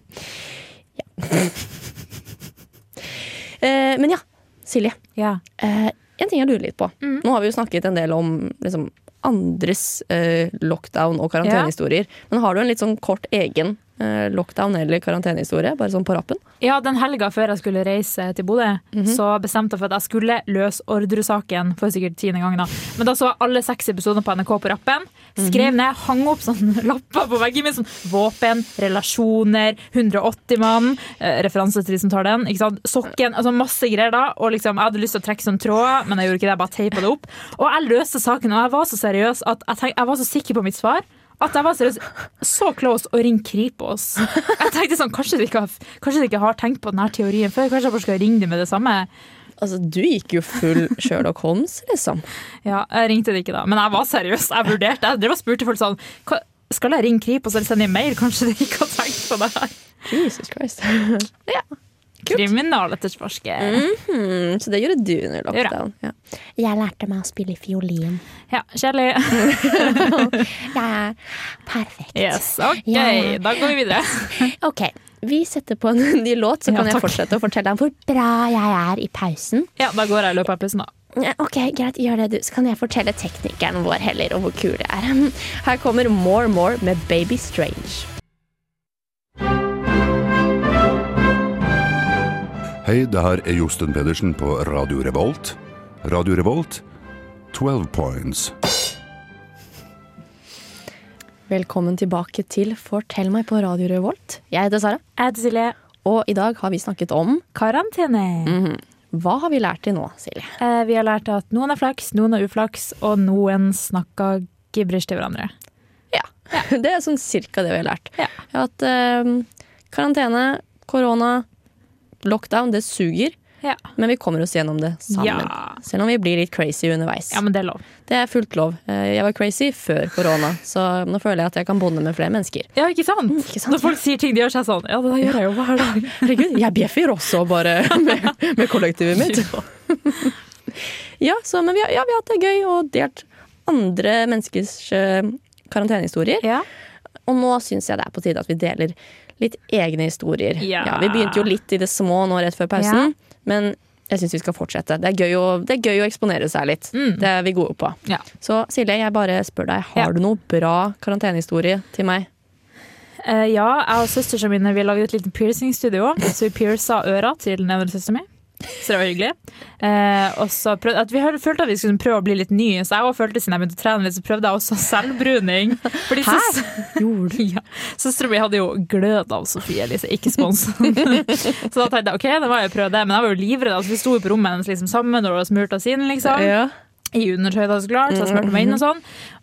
Speaker 1: Eh, men ja, Silje.
Speaker 2: ja.
Speaker 1: eh, en ting jeg lurer litt på. Nå har vi jo snakket en del om liksom, andres eh, lockdown- og karantenehistorier. Men har du en litt sånn kort egen eh, lockdown- eller karantenehistorie? Bare sånn på rappen?
Speaker 2: Ja, den helga før jeg skulle reise til Bodø, så bestemte jeg for at jeg skulle løse Orderud-saken for sikkert tiende gang. Da. Men da så jeg alle seks episoder på NRK på rappen. Skrev ned, hang opp sånne lapper på veggen min. Sånn våpen, relasjoner, 180-mannen. Eh, referanse til de som tar den. Ikke sant? Sokken. altså Masse greier da. Og liksom, jeg hadde lyst til å trekke sånn tråd, men jeg gjorde ikke det. Jeg bare teipa det opp. Og jeg løste saken, og jeg var så seriøs at jeg, tenk, jeg var så sikker på mitt svar. At jeg var seriøs, så close å ringe Kripos. Jeg tenkte sånn, kanskje de ikke har, kanskje de ikke har tenkt på denne teorien før. Kanskje jeg bare skal ringe dem med det samme.
Speaker 1: Altså, du gikk jo full Sherlock Holmes, liksom.
Speaker 2: Ja, jeg ringte det ikke da, men jeg var seriøs. Jeg vurderte. Jeg drev og spurte folk sånn "Hva- Skal jeg ringe Kripos eller sende en mail? Kanskje de ikke har tenkt på det her.
Speaker 1: Jesus Christ.
Speaker 2: Kriminaletterforsker.
Speaker 1: Mm, så det gjorde du under
Speaker 2: jeg.
Speaker 1: lockdown. Ja.
Speaker 10: Jeg lærte meg å spille fiolin.
Speaker 2: Ja, kjedelig.
Speaker 10: Jeg er perfekt.
Speaker 2: Yes, OK.
Speaker 10: Ja.
Speaker 2: Da går vi videre.
Speaker 10: Ok,
Speaker 1: Vi setter på en ny låt, så
Speaker 2: Ja,
Speaker 1: kan jeg
Speaker 2: takk.
Speaker 1: fortsette å fortelle om
Speaker 10: hvor bra jeg er i pausen.
Speaker 2: Ja, Da går jeg i løpet av pausen, da.
Speaker 10: Ja, Ok, greit, gjør det du. Så kan jeg fortelle teknikeren vår heller om hvor kul jeg er.
Speaker 1: Her kommer More More med Baby Strange.
Speaker 11: Hei, det her er Josten Pedersen på Radio Revolt. Radio Revolt, 12 points.
Speaker 1: Velkommen tilbake til Fortell meg på Radio Revolt. Jeg heter Sara,
Speaker 2: Jeg heter Silje. Mm.
Speaker 1: og i dag har vi snakket om
Speaker 2: Karantene.
Speaker 1: Hva har vi lært til nå, Silje?
Speaker 2: Eh, Vi har lært at noen har flaks, noen har uflaks, og noen snakker gibberish til hverandre.
Speaker 1: Det er sånn cirka det vi har lært.
Speaker 2: Ja.
Speaker 1: At eh, karantene, korona, lockdown, det suger.
Speaker 2: Ja.
Speaker 1: Men vi kommer oss gjennom det sammen.
Speaker 2: Ja.
Speaker 1: Selv om vi blir litt crazy underveis.
Speaker 2: ja, men det er lov.
Speaker 1: Det er fullt lov. Eh, Jeg var crazy før korona, så nå føler jeg at jeg kan bonde med flere mennesker.
Speaker 2: Ja, Mm, ikke sant?
Speaker 1: ikke sant?
Speaker 2: Når folk sier ting, de gjør seg sånn. Ja, det der gjør jeg jo hver dag.
Speaker 1: Herregud, jeg bjeffer også bare med, med kollektivet mitt. Ja, så, men vi har, ja, vi har hatt det gøy og delt andre menneskers eh, karantenehistorier.
Speaker 2: Ja.
Speaker 1: Og nå syns jeg det er på tide at vi deler litt egne historier.
Speaker 2: Ja.
Speaker 1: vi begynte jo litt i det små nå rett før pausen, men jeg syns vi skal fortsette. Det er gøy å, det er gøy å eksponere seg litt.
Speaker 2: Mm.
Speaker 1: Det er vi gode på.
Speaker 2: Ja.
Speaker 1: Så Silje, jeg bare spør deg, har
Speaker 2: Ja.
Speaker 1: du noe bra karantenehistorie til meg?
Speaker 2: Eh, ja, jeg og søsteren mine vi lagde et lite piercingstudio, så vi pierca øra til nevnesøsteren min. Så det var hyggelig. Eh, og så prøvde, at vi hør- følte at vi skulle prøve å bli litt nye, så jeg også følte siden jeg begynte å trene litt, så prøvde jeg også selvbruning. Fordi søs- ja. Søsteren min hadde jo glød av Sofie Elise, ikke spons. så da tenkte jeg ok, da må jeg prøve det, men jeg var jo livredd. Altså, vi sto jo på rommet hennes liksom, sammen og smurte oss inn, liksom.
Speaker 1: Ja. Mhm.
Speaker 2: I undertøy, da, så klart. Så jeg smurte meg inn og sånn.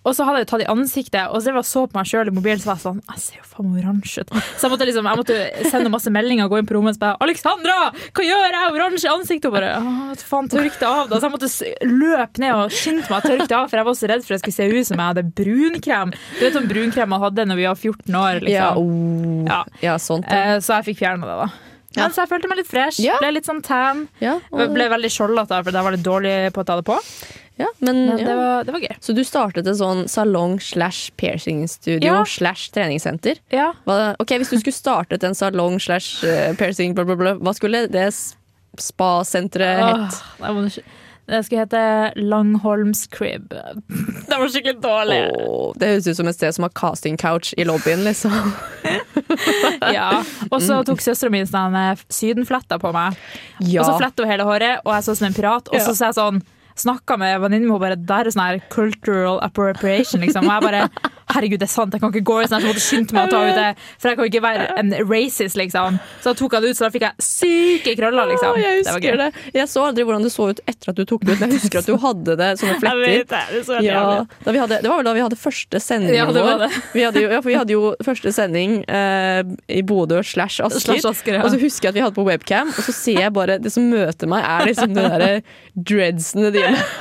Speaker 2: Og så hadde jeg jo tatt i ansiktet, og så drev jeg og så på meg sjøl i mobilen, så var jeg sånn Jeg ser jo faen meg oransje ut. Så jeg måtte liksom Jeg måtte sende masse meldinger og gå inn på rommet og så bare 'Alexandra, hva gjør jeg? Oransje i ansiktet?' Og bare «Åh, Faen, tørk det av, da. Så jeg måtte s- løpe ned og skynde meg å tørke det av, for jeg var så redd for at jeg skulle se ut som jeg hadde brunkrem. Du vet sånn brunkrem man hadde når vi var 14 år,
Speaker 1: Ja, oh.
Speaker 2: liksom. Ja.
Speaker 1: sånt.
Speaker 2: Eh, Så jeg fikk fjerna det, da. Men så jeg følte meg litt fresh,
Speaker 1: Ja.
Speaker 2: ble litt sånn tan.
Speaker 1: og-
Speaker 2: Ble veldig skjoldete, for jeg var litt dårlig på å ta det på.
Speaker 1: Ja, men,
Speaker 2: Men
Speaker 1: ja.
Speaker 2: det var, det var gøy.
Speaker 1: Så du startet en sånn salong slash piercingstudio
Speaker 2: Ja.
Speaker 1: slash treningssenter?
Speaker 2: Ja.
Speaker 1: Hva, ok, Hvis du skulle startet en salong slash eh, piercing, bla, bla, bla, hva skulle det s- spasenteret hett?
Speaker 2: Åh, nei, må du ikke- Det skulle hete Langholms crib. Det var skikkelig dårlig.
Speaker 1: Åh, det høres ut som et sted som har casting couch i lobbyen, liksom.
Speaker 2: Ja. Og så tok søstera mi sånn eh, sydenfletter på meg.
Speaker 1: Ja.
Speaker 2: Og så fletta hun hele håret, og jeg så ut som en pirat. Og
Speaker 1: Ja.
Speaker 2: så sa jeg sånn Snakka med venninnen min, hun bare Det er sånn her cultural appropriation, liksom. Og jeg bare Herregud, det er sant, jeg kan ikke gå i sånn her, så jeg måtte skynde meg å ta ut det. For jeg kan ikke være en racist, liksom. Så jeg tok jeg det ut, så da fikk jeg syke krøller, liksom.
Speaker 1: Åh, jeg
Speaker 2: Det var
Speaker 1: husker
Speaker 2: gøy.
Speaker 1: det. Jeg så aldri hvordan det så ut etter at du tok det ut, men jeg husker at du hadde det sånne fletter.
Speaker 2: Jeg vet det, det så helt
Speaker 1: ja,
Speaker 2: jævlig
Speaker 1: da vi hadde, det var vel da vi hadde første sending
Speaker 2: Ja, det var
Speaker 1: vår.
Speaker 2: det.
Speaker 1: Vi hadde jo, ja, for vi hadde jo første sending eh, i Bodø slash Asker.
Speaker 2: Slash Asker, ja.
Speaker 1: Og så husker jeg at vi hadde på webcam, og så ser jeg bare Det som møter meg, er liksom de derre dreadsene dine.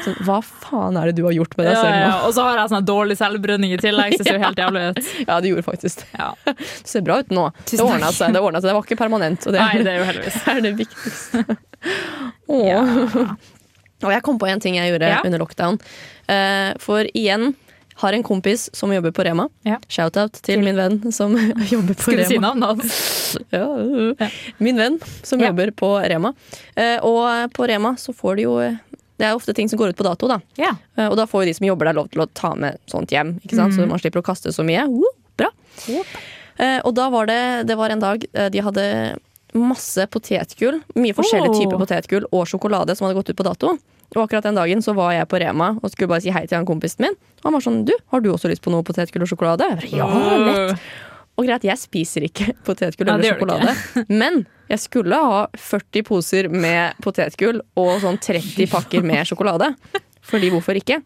Speaker 1: Sånn, hva faen er det du har gjort med deg
Speaker 2: Ja,
Speaker 1: selv
Speaker 2: ja,
Speaker 1: nå?
Speaker 2: ja. Og så har jeg sånn her dårlig selvbrunning i tillegg, så det ser jo helt jævlig ut.
Speaker 1: Ja, det gjorde faktisk det.
Speaker 2: Ja.
Speaker 1: Du ser bra ut nå. Det
Speaker 2: Tusen takk.
Speaker 1: ordna seg. Det ordnet seg. Det var ikke permanent. Og det,
Speaker 2: Nei, det er jo heldigvis.
Speaker 1: er det viktigste. Åh. Og jeg kom på en ting jeg gjorde
Speaker 2: Ja.
Speaker 1: under lockdown. Eh, for igjen har en kompis som jobber på Rema.
Speaker 2: Ja.
Speaker 1: Shout-out til min venn som jobber på
Speaker 2: Skulle
Speaker 1: Rema.
Speaker 2: si navnet hans.
Speaker 1: Ja, øh. Min venn som
Speaker 2: Ja.
Speaker 1: jobber på Rema. Eh, og på Rema så får de jo eh, Det er ofte ting som går ut på dato, da.
Speaker 2: Ja.
Speaker 1: Eh, Og da får jo de som jobber der lov til å ta med sånt hjem, ikke sant? så man slipper å kaste så mye. Woo, bra. Eh, og da var det, det var en dag eh, de hadde masse potetgull, mye forskjellige
Speaker 2: Oh.
Speaker 1: typer potetgull og sjokolade som hadde gått ut på dato. Og akkurat den dagen så var jeg på Rema og skulle bare si hei til han kompisen min. Og han var sånn, du, har du også lyst på noe potetgull og sjokolade? Jeg bare, ja, lett. Og greit, jeg spiser ikke potetgull
Speaker 2: Ja,
Speaker 1: eller
Speaker 2: det gjør du
Speaker 1: sjokolade, men jeg skulle ha 40 poser med potetgull og sånn 30 pakker med sjokolade. Fordi hvorfor ikke?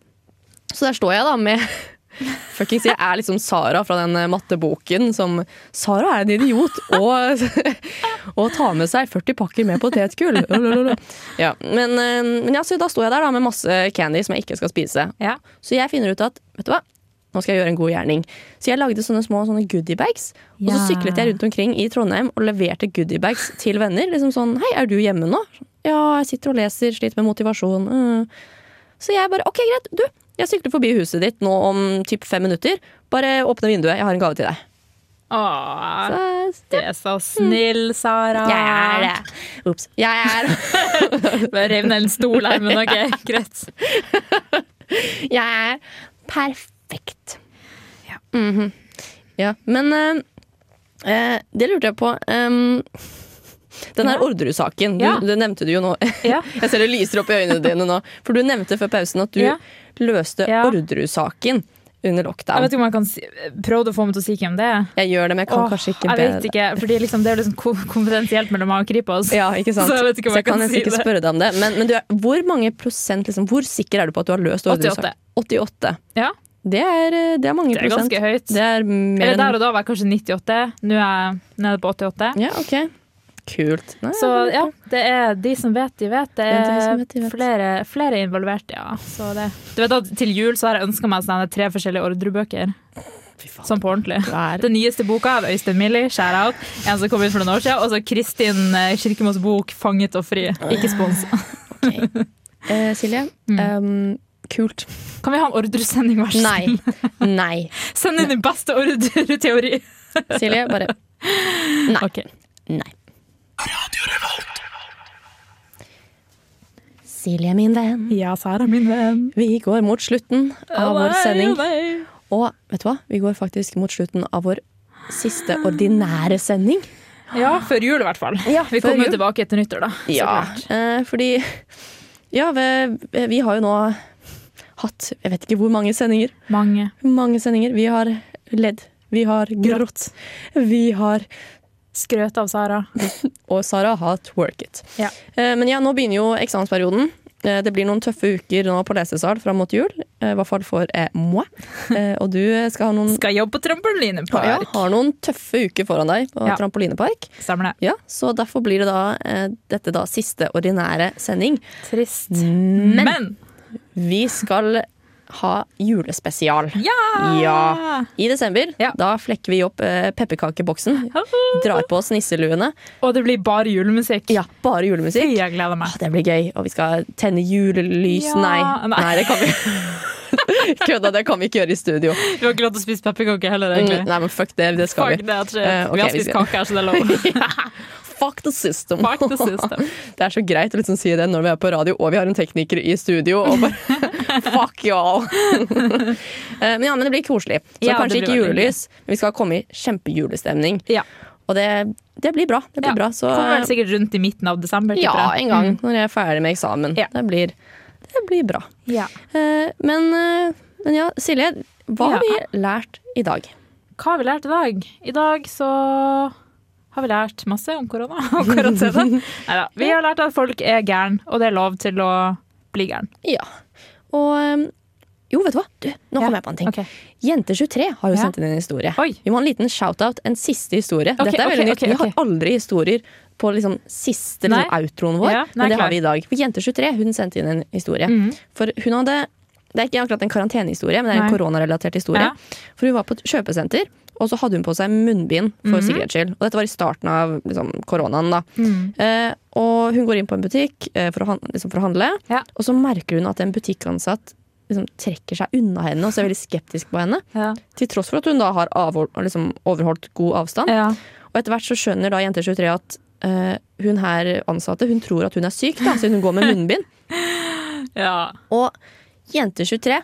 Speaker 1: Så der står jeg da med Fuckings, jeg er liksom Sara fra den eh, matteboken som Sara er en idiot og, og tar med seg 40 pakker med potetgull. Lalalala. Ja, men, eh, men ja, så da står jeg der da med masse candy som jeg ikke skal spise.
Speaker 2: Ja.
Speaker 1: Så jeg finner ut at vet du hva, nå skal jeg gjøre en god gjerning. Så jeg lagde sånne små sånne goodiebags. Og så
Speaker 2: Ja.
Speaker 1: syklet jeg rundt omkring i Trondheim og leverte goodiebags til venner. Liksom sånn Hei, er du hjemme nå? Ja, jeg sitter og leser, sliter med motivasjon. Mm. Så jeg bare OK, greit. Du, jeg sykler forbi huset ditt nå om typ fem minutter. Bare åpne vinduet, jeg har en gave til deg.
Speaker 2: Åh,
Speaker 1: Så
Speaker 2: det er så snill, Sara.
Speaker 1: jeg er det. Ops. Jeg er,
Speaker 2: Bare rev ned en stol her, men ok, greit.
Speaker 1: jeg er perfekt. Ja. Mhm. ja. Men eh, eh, det lurte jeg på. Um, den her
Speaker 2: Ja.
Speaker 1: Orderud-saken,
Speaker 2: Ja.
Speaker 1: du, det nevnte du jo nå.
Speaker 2: Ja.
Speaker 1: Jeg ser det lyser opp i øynene dine nå. For du nevnte før pausen at du
Speaker 2: Ja.
Speaker 1: løste
Speaker 2: Ja.
Speaker 1: Orderud-saken under
Speaker 2: Jeg
Speaker 1: lockdown.
Speaker 2: vet ikke om jeg kan si, prøvde å få meg til å si hvem det er.
Speaker 1: Jeg gjør det, men jeg kan
Speaker 2: Åh,
Speaker 1: kanskje ikke
Speaker 2: jeg
Speaker 1: be
Speaker 2: vet ikke, fordi liksom, det er jo liksom ko- konfidensielt mellom meg og Kripos.
Speaker 1: Ja, ikke sant?
Speaker 2: Så jeg vet ikke om jeg kan
Speaker 1: nesten
Speaker 2: si
Speaker 1: ikke
Speaker 2: det.
Speaker 1: spørre deg om det. Men, men du er, hvor mange prosent, liksom, hvor sikker er du på at du har løst Orderud-saken? 88.
Speaker 2: Ja.
Speaker 1: Det er, eh, det er mange
Speaker 2: Det er
Speaker 1: prosent.
Speaker 2: ganske høyt.
Speaker 1: Det er mer
Speaker 2: Eller
Speaker 1: enn
Speaker 2: der og da var jeg kanskje 98, nå er jeg nede på 88.
Speaker 1: Ja, ok. Kult. Nei,
Speaker 2: Så ja, det er de som vet, de vet. Det
Speaker 1: Ja, de som
Speaker 2: er
Speaker 1: vet, de vet.
Speaker 2: flere, flere involverte, ja. Så det. Du vet at Til jul så har jeg ønska meg sånne tre forskjellige ordrebøker. Sånn på ordentlig. Den nyeste boka av Øystein Millie, Share Out, en som kom ut for noen år siden, og så Kristin eh, Kirkemos bok 'Fanget og fri'. Ikke spons.
Speaker 1: eh, Silje, ehm, kult.
Speaker 2: Kan vi ha en ordresending, vær så
Speaker 1: Nei.
Speaker 2: snill?
Speaker 1: Nei.
Speaker 2: Send inn din beste ordreteori.
Speaker 1: Silje, bare
Speaker 2: Ok.
Speaker 1: nei. Silje, min venn,
Speaker 2: Ja, Sara, min venn.
Speaker 1: vi går mot slutten av vår sending.
Speaker 2: Nei, nei.
Speaker 1: Og vet du hva? Vi går faktisk mot slutten av vår siste ordinære sending.
Speaker 2: Ja, før jul i hvert fall. Vi
Speaker 1: før
Speaker 2: kommer
Speaker 1: jul.
Speaker 2: tilbake etter nyttår, da. så
Speaker 1: Ja,
Speaker 2: klart.
Speaker 1: eh, fordi Ja, vi, vi har jo nå hatt Jeg vet ikke hvor mange sendinger.
Speaker 2: Mange.
Speaker 1: Mange sendinger. Vi har ledd. Vi har grått. Vi har
Speaker 2: Skrøt av Sara.
Speaker 1: Og Sara har twerket.
Speaker 2: Ja.
Speaker 1: Eh, Men ja, nå begynner jo eksamensperioden. Eh, Det blir noen tøffe uker nå på lesesal fram mot jul. eh, I hvert fall for eh, moi. Eh, Og du eh, skal ha noen
Speaker 2: Skal jobbe på trampolinepark.
Speaker 1: ja, har noen tøffe uker foran deg på
Speaker 2: Ja.
Speaker 1: trampolinepark.
Speaker 2: Stemmer det.
Speaker 1: Ja, så derfor blir det da eh, dette da siste ordinære sending.
Speaker 2: Trist.
Speaker 1: Men,
Speaker 2: Men
Speaker 1: vi skal ha julespesial.
Speaker 2: ja!
Speaker 1: Ja. I desember. Da flekker vi opp eh, pepperkakeboksen. Drar på oss nisseluene.
Speaker 2: Og det blir bare julemusikk.
Speaker 1: Ja, bare julemusikk.
Speaker 2: Jeg gleder meg.
Speaker 1: Det blir gøy, og vi skal tenne julelys.
Speaker 2: Ja,
Speaker 1: Nei.
Speaker 2: nei.
Speaker 1: nei. det kan vi Kødda, det kan vi ikke gjøre i studio.
Speaker 2: Vi har ikke lov til å spise pepperkaker heller,
Speaker 1: Mm,
Speaker 2: egentlig.
Speaker 1: Nei, men fuck det. Det skal
Speaker 2: Fuck
Speaker 1: vi.
Speaker 2: det, at shit.
Speaker 1: Eh, ok,
Speaker 2: vi har
Speaker 1: vi
Speaker 2: spist
Speaker 1: skal-
Speaker 2: kake her, så det er lov.
Speaker 1: Fuck the system.
Speaker 2: Fuck the system.
Speaker 1: Det er så greit å liksom si det når vi er på radio og vi har en tekniker i studio. Og bare fuck y'all! Eh, men ja, men det blir koselig. Så
Speaker 2: Ja,
Speaker 1: kanskje
Speaker 2: det blir
Speaker 1: ikke
Speaker 2: veldig
Speaker 1: julelys, men vi skal komme i kjempejulestemning.
Speaker 2: Ja.
Speaker 1: Og det, det blir bra. Det blir
Speaker 2: Ja.
Speaker 1: bra. Så
Speaker 2: Kommer vel sikkert rundt i midten av desember.
Speaker 1: Eh. ja,
Speaker 2: tipper jeg.
Speaker 1: en gang når jeg er ferdig med eksamen.
Speaker 2: Ja.
Speaker 1: Det, blir, det blir bra.
Speaker 2: Ja.
Speaker 1: Eh, men, eh, men ja, Silje, hva har
Speaker 2: Ja.
Speaker 1: vi lært i dag?
Speaker 2: Hva har vi lært i dag? I dag så har vi lært masse om korona og karantene. Neida. Vi har lært at folk er gæren, og det er lov til å bli gæren.
Speaker 1: Ja, og eh, jo, vet du hva? Du, nå
Speaker 2: Ja.
Speaker 1: kom jeg på en ting.
Speaker 2: Ok.
Speaker 1: Jente23 har jo
Speaker 2: Ja.
Speaker 1: sendt inn en historie.
Speaker 2: Oi.
Speaker 1: Vi må ha en liten shout-out, en siste historie.
Speaker 2: Ok,
Speaker 1: Dette er
Speaker 2: ok,
Speaker 1: veldig nytt.
Speaker 2: ok,
Speaker 1: Vi har
Speaker 2: ok.
Speaker 1: aldri historier på liksom siste
Speaker 2: Nei.
Speaker 1: liksom, outroen vår,
Speaker 2: Ja, nei,
Speaker 1: men det
Speaker 2: klar.
Speaker 1: har vi i dag. For Jente23 hun sendte inn en historie. For hun hadde Det er ikke akkurat en karantenehistorie, men det er en
Speaker 2: Nei.
Speaker 1: koronarelatert historie.
Speaker 2: Ja.
Speaker 1: For hun var på et kjøpesenter, og så hadde hun på seg munnbind for
Speaker 2: Mhm.
Speaker 1: sikkerhets skyld. Og dette var i starten av liksom, koronaen, da.
Speaker 2: Mhm.
Speaker 1: Eh, og hun går inn på en butikk eh, for, å han, liksom, for å handle,
Speaker 2: Ja.
Speaker 1: og så merker hun at en butikkansatt liksom, trekker seg unna henne og ser veldig skeptisk på henne.
Speaker 2: Ja.
Speaker 1: Til tross for at hun da har avhold, liksom, overholdt god avstand.
Speaker 2: Ja.
Speaker 1: Og etter hvert så skjønner da jente 23 at eh, hun her ansatte hun tror at hun er syk, da, siden hun går med munnbind.
Speaker 2: ja.
Speaker 1: Og jente 23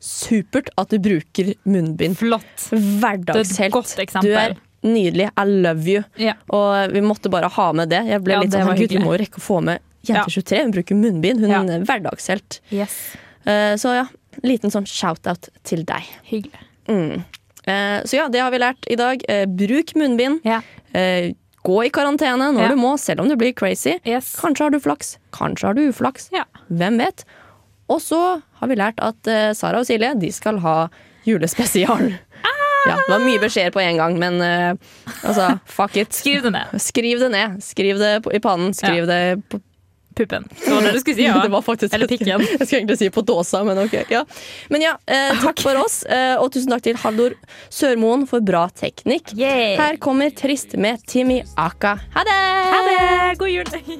Speaker 1: supert at du bruker munnbind.
Speaker 2: Flott. Det er et
Speaker 1: Hverdagshelt.
Speaker 2: godt
Speaker 1: Du
Speaker 2: eksempel.
Speaker 1: er nydelig. I love you.
Speaker 2: Ja.
Speaker 1: Og vi måtte bare ha med det. Jeg ble
Speaker 2: Ja,
Speaker 1: litt
Speaker 2: det
Speaker 1: sånn,
Speaker 2: var
Speaker 1: Gud, vi
Speaker 2: hyggelig.
Speaker 1: må jo rekke å få med
Speaker 2: Ja.
Speaker 1: jente 23. Hun bruker munnbind. Hun
Speaker 2: Ja.
Speaker 1: er en hverdagshelt.
Speaker 2: Yes.
Speaker 1: Eh, Så ja, liten sånn shout-out til deg.
Speaker 2: Hyggelig.
Speaker 1: Mm. Eh, Så ja, det har vi lært i dag. Eh, Bruk munnbind.
Speaker 2: Ja.
Speaker 1: Eh, Gå i karantene når
Speaker 2: Ja.
Speaker 1: du må, selv om du blir crazy.
Speaker 2: Yes.
Speaker 1: Kanskje har du flaks, kanskje har du uflaks.
Speaker 2: Ja.
Speaker 1: Hvem vet? Og så har vi lært at eh, Sara og Silje de skal ha julespesial.
Speaker 2: Ah!
Speaker 1: Ja, det var mye beskjeder på en gang, men eh, altså, fuck it.
Speaker 2: Skriv det ned.
Speaker 1: Skriv det ned. Skriv det på- i pannen. Skriv det på
Speaker 2: Puppen. Det var det du skulle si, ja.
Speaker 1: det var faktisk
Speaker 2: Eller pikken.
Speaker 1: Jeg skulle egentlig si på dåsa, men ok. Ja. Men ja, eh,
Speaker 2: Ah,
Speaker 1: takk for oss, eh, og tusen takk til Haldor Sørmoen for bra teknikk.
Speaker 2: Yay.
Speaker 1: Her kommer Trist med Timmy Aka. Ha det!
Speaker 2: Ha det! God jul!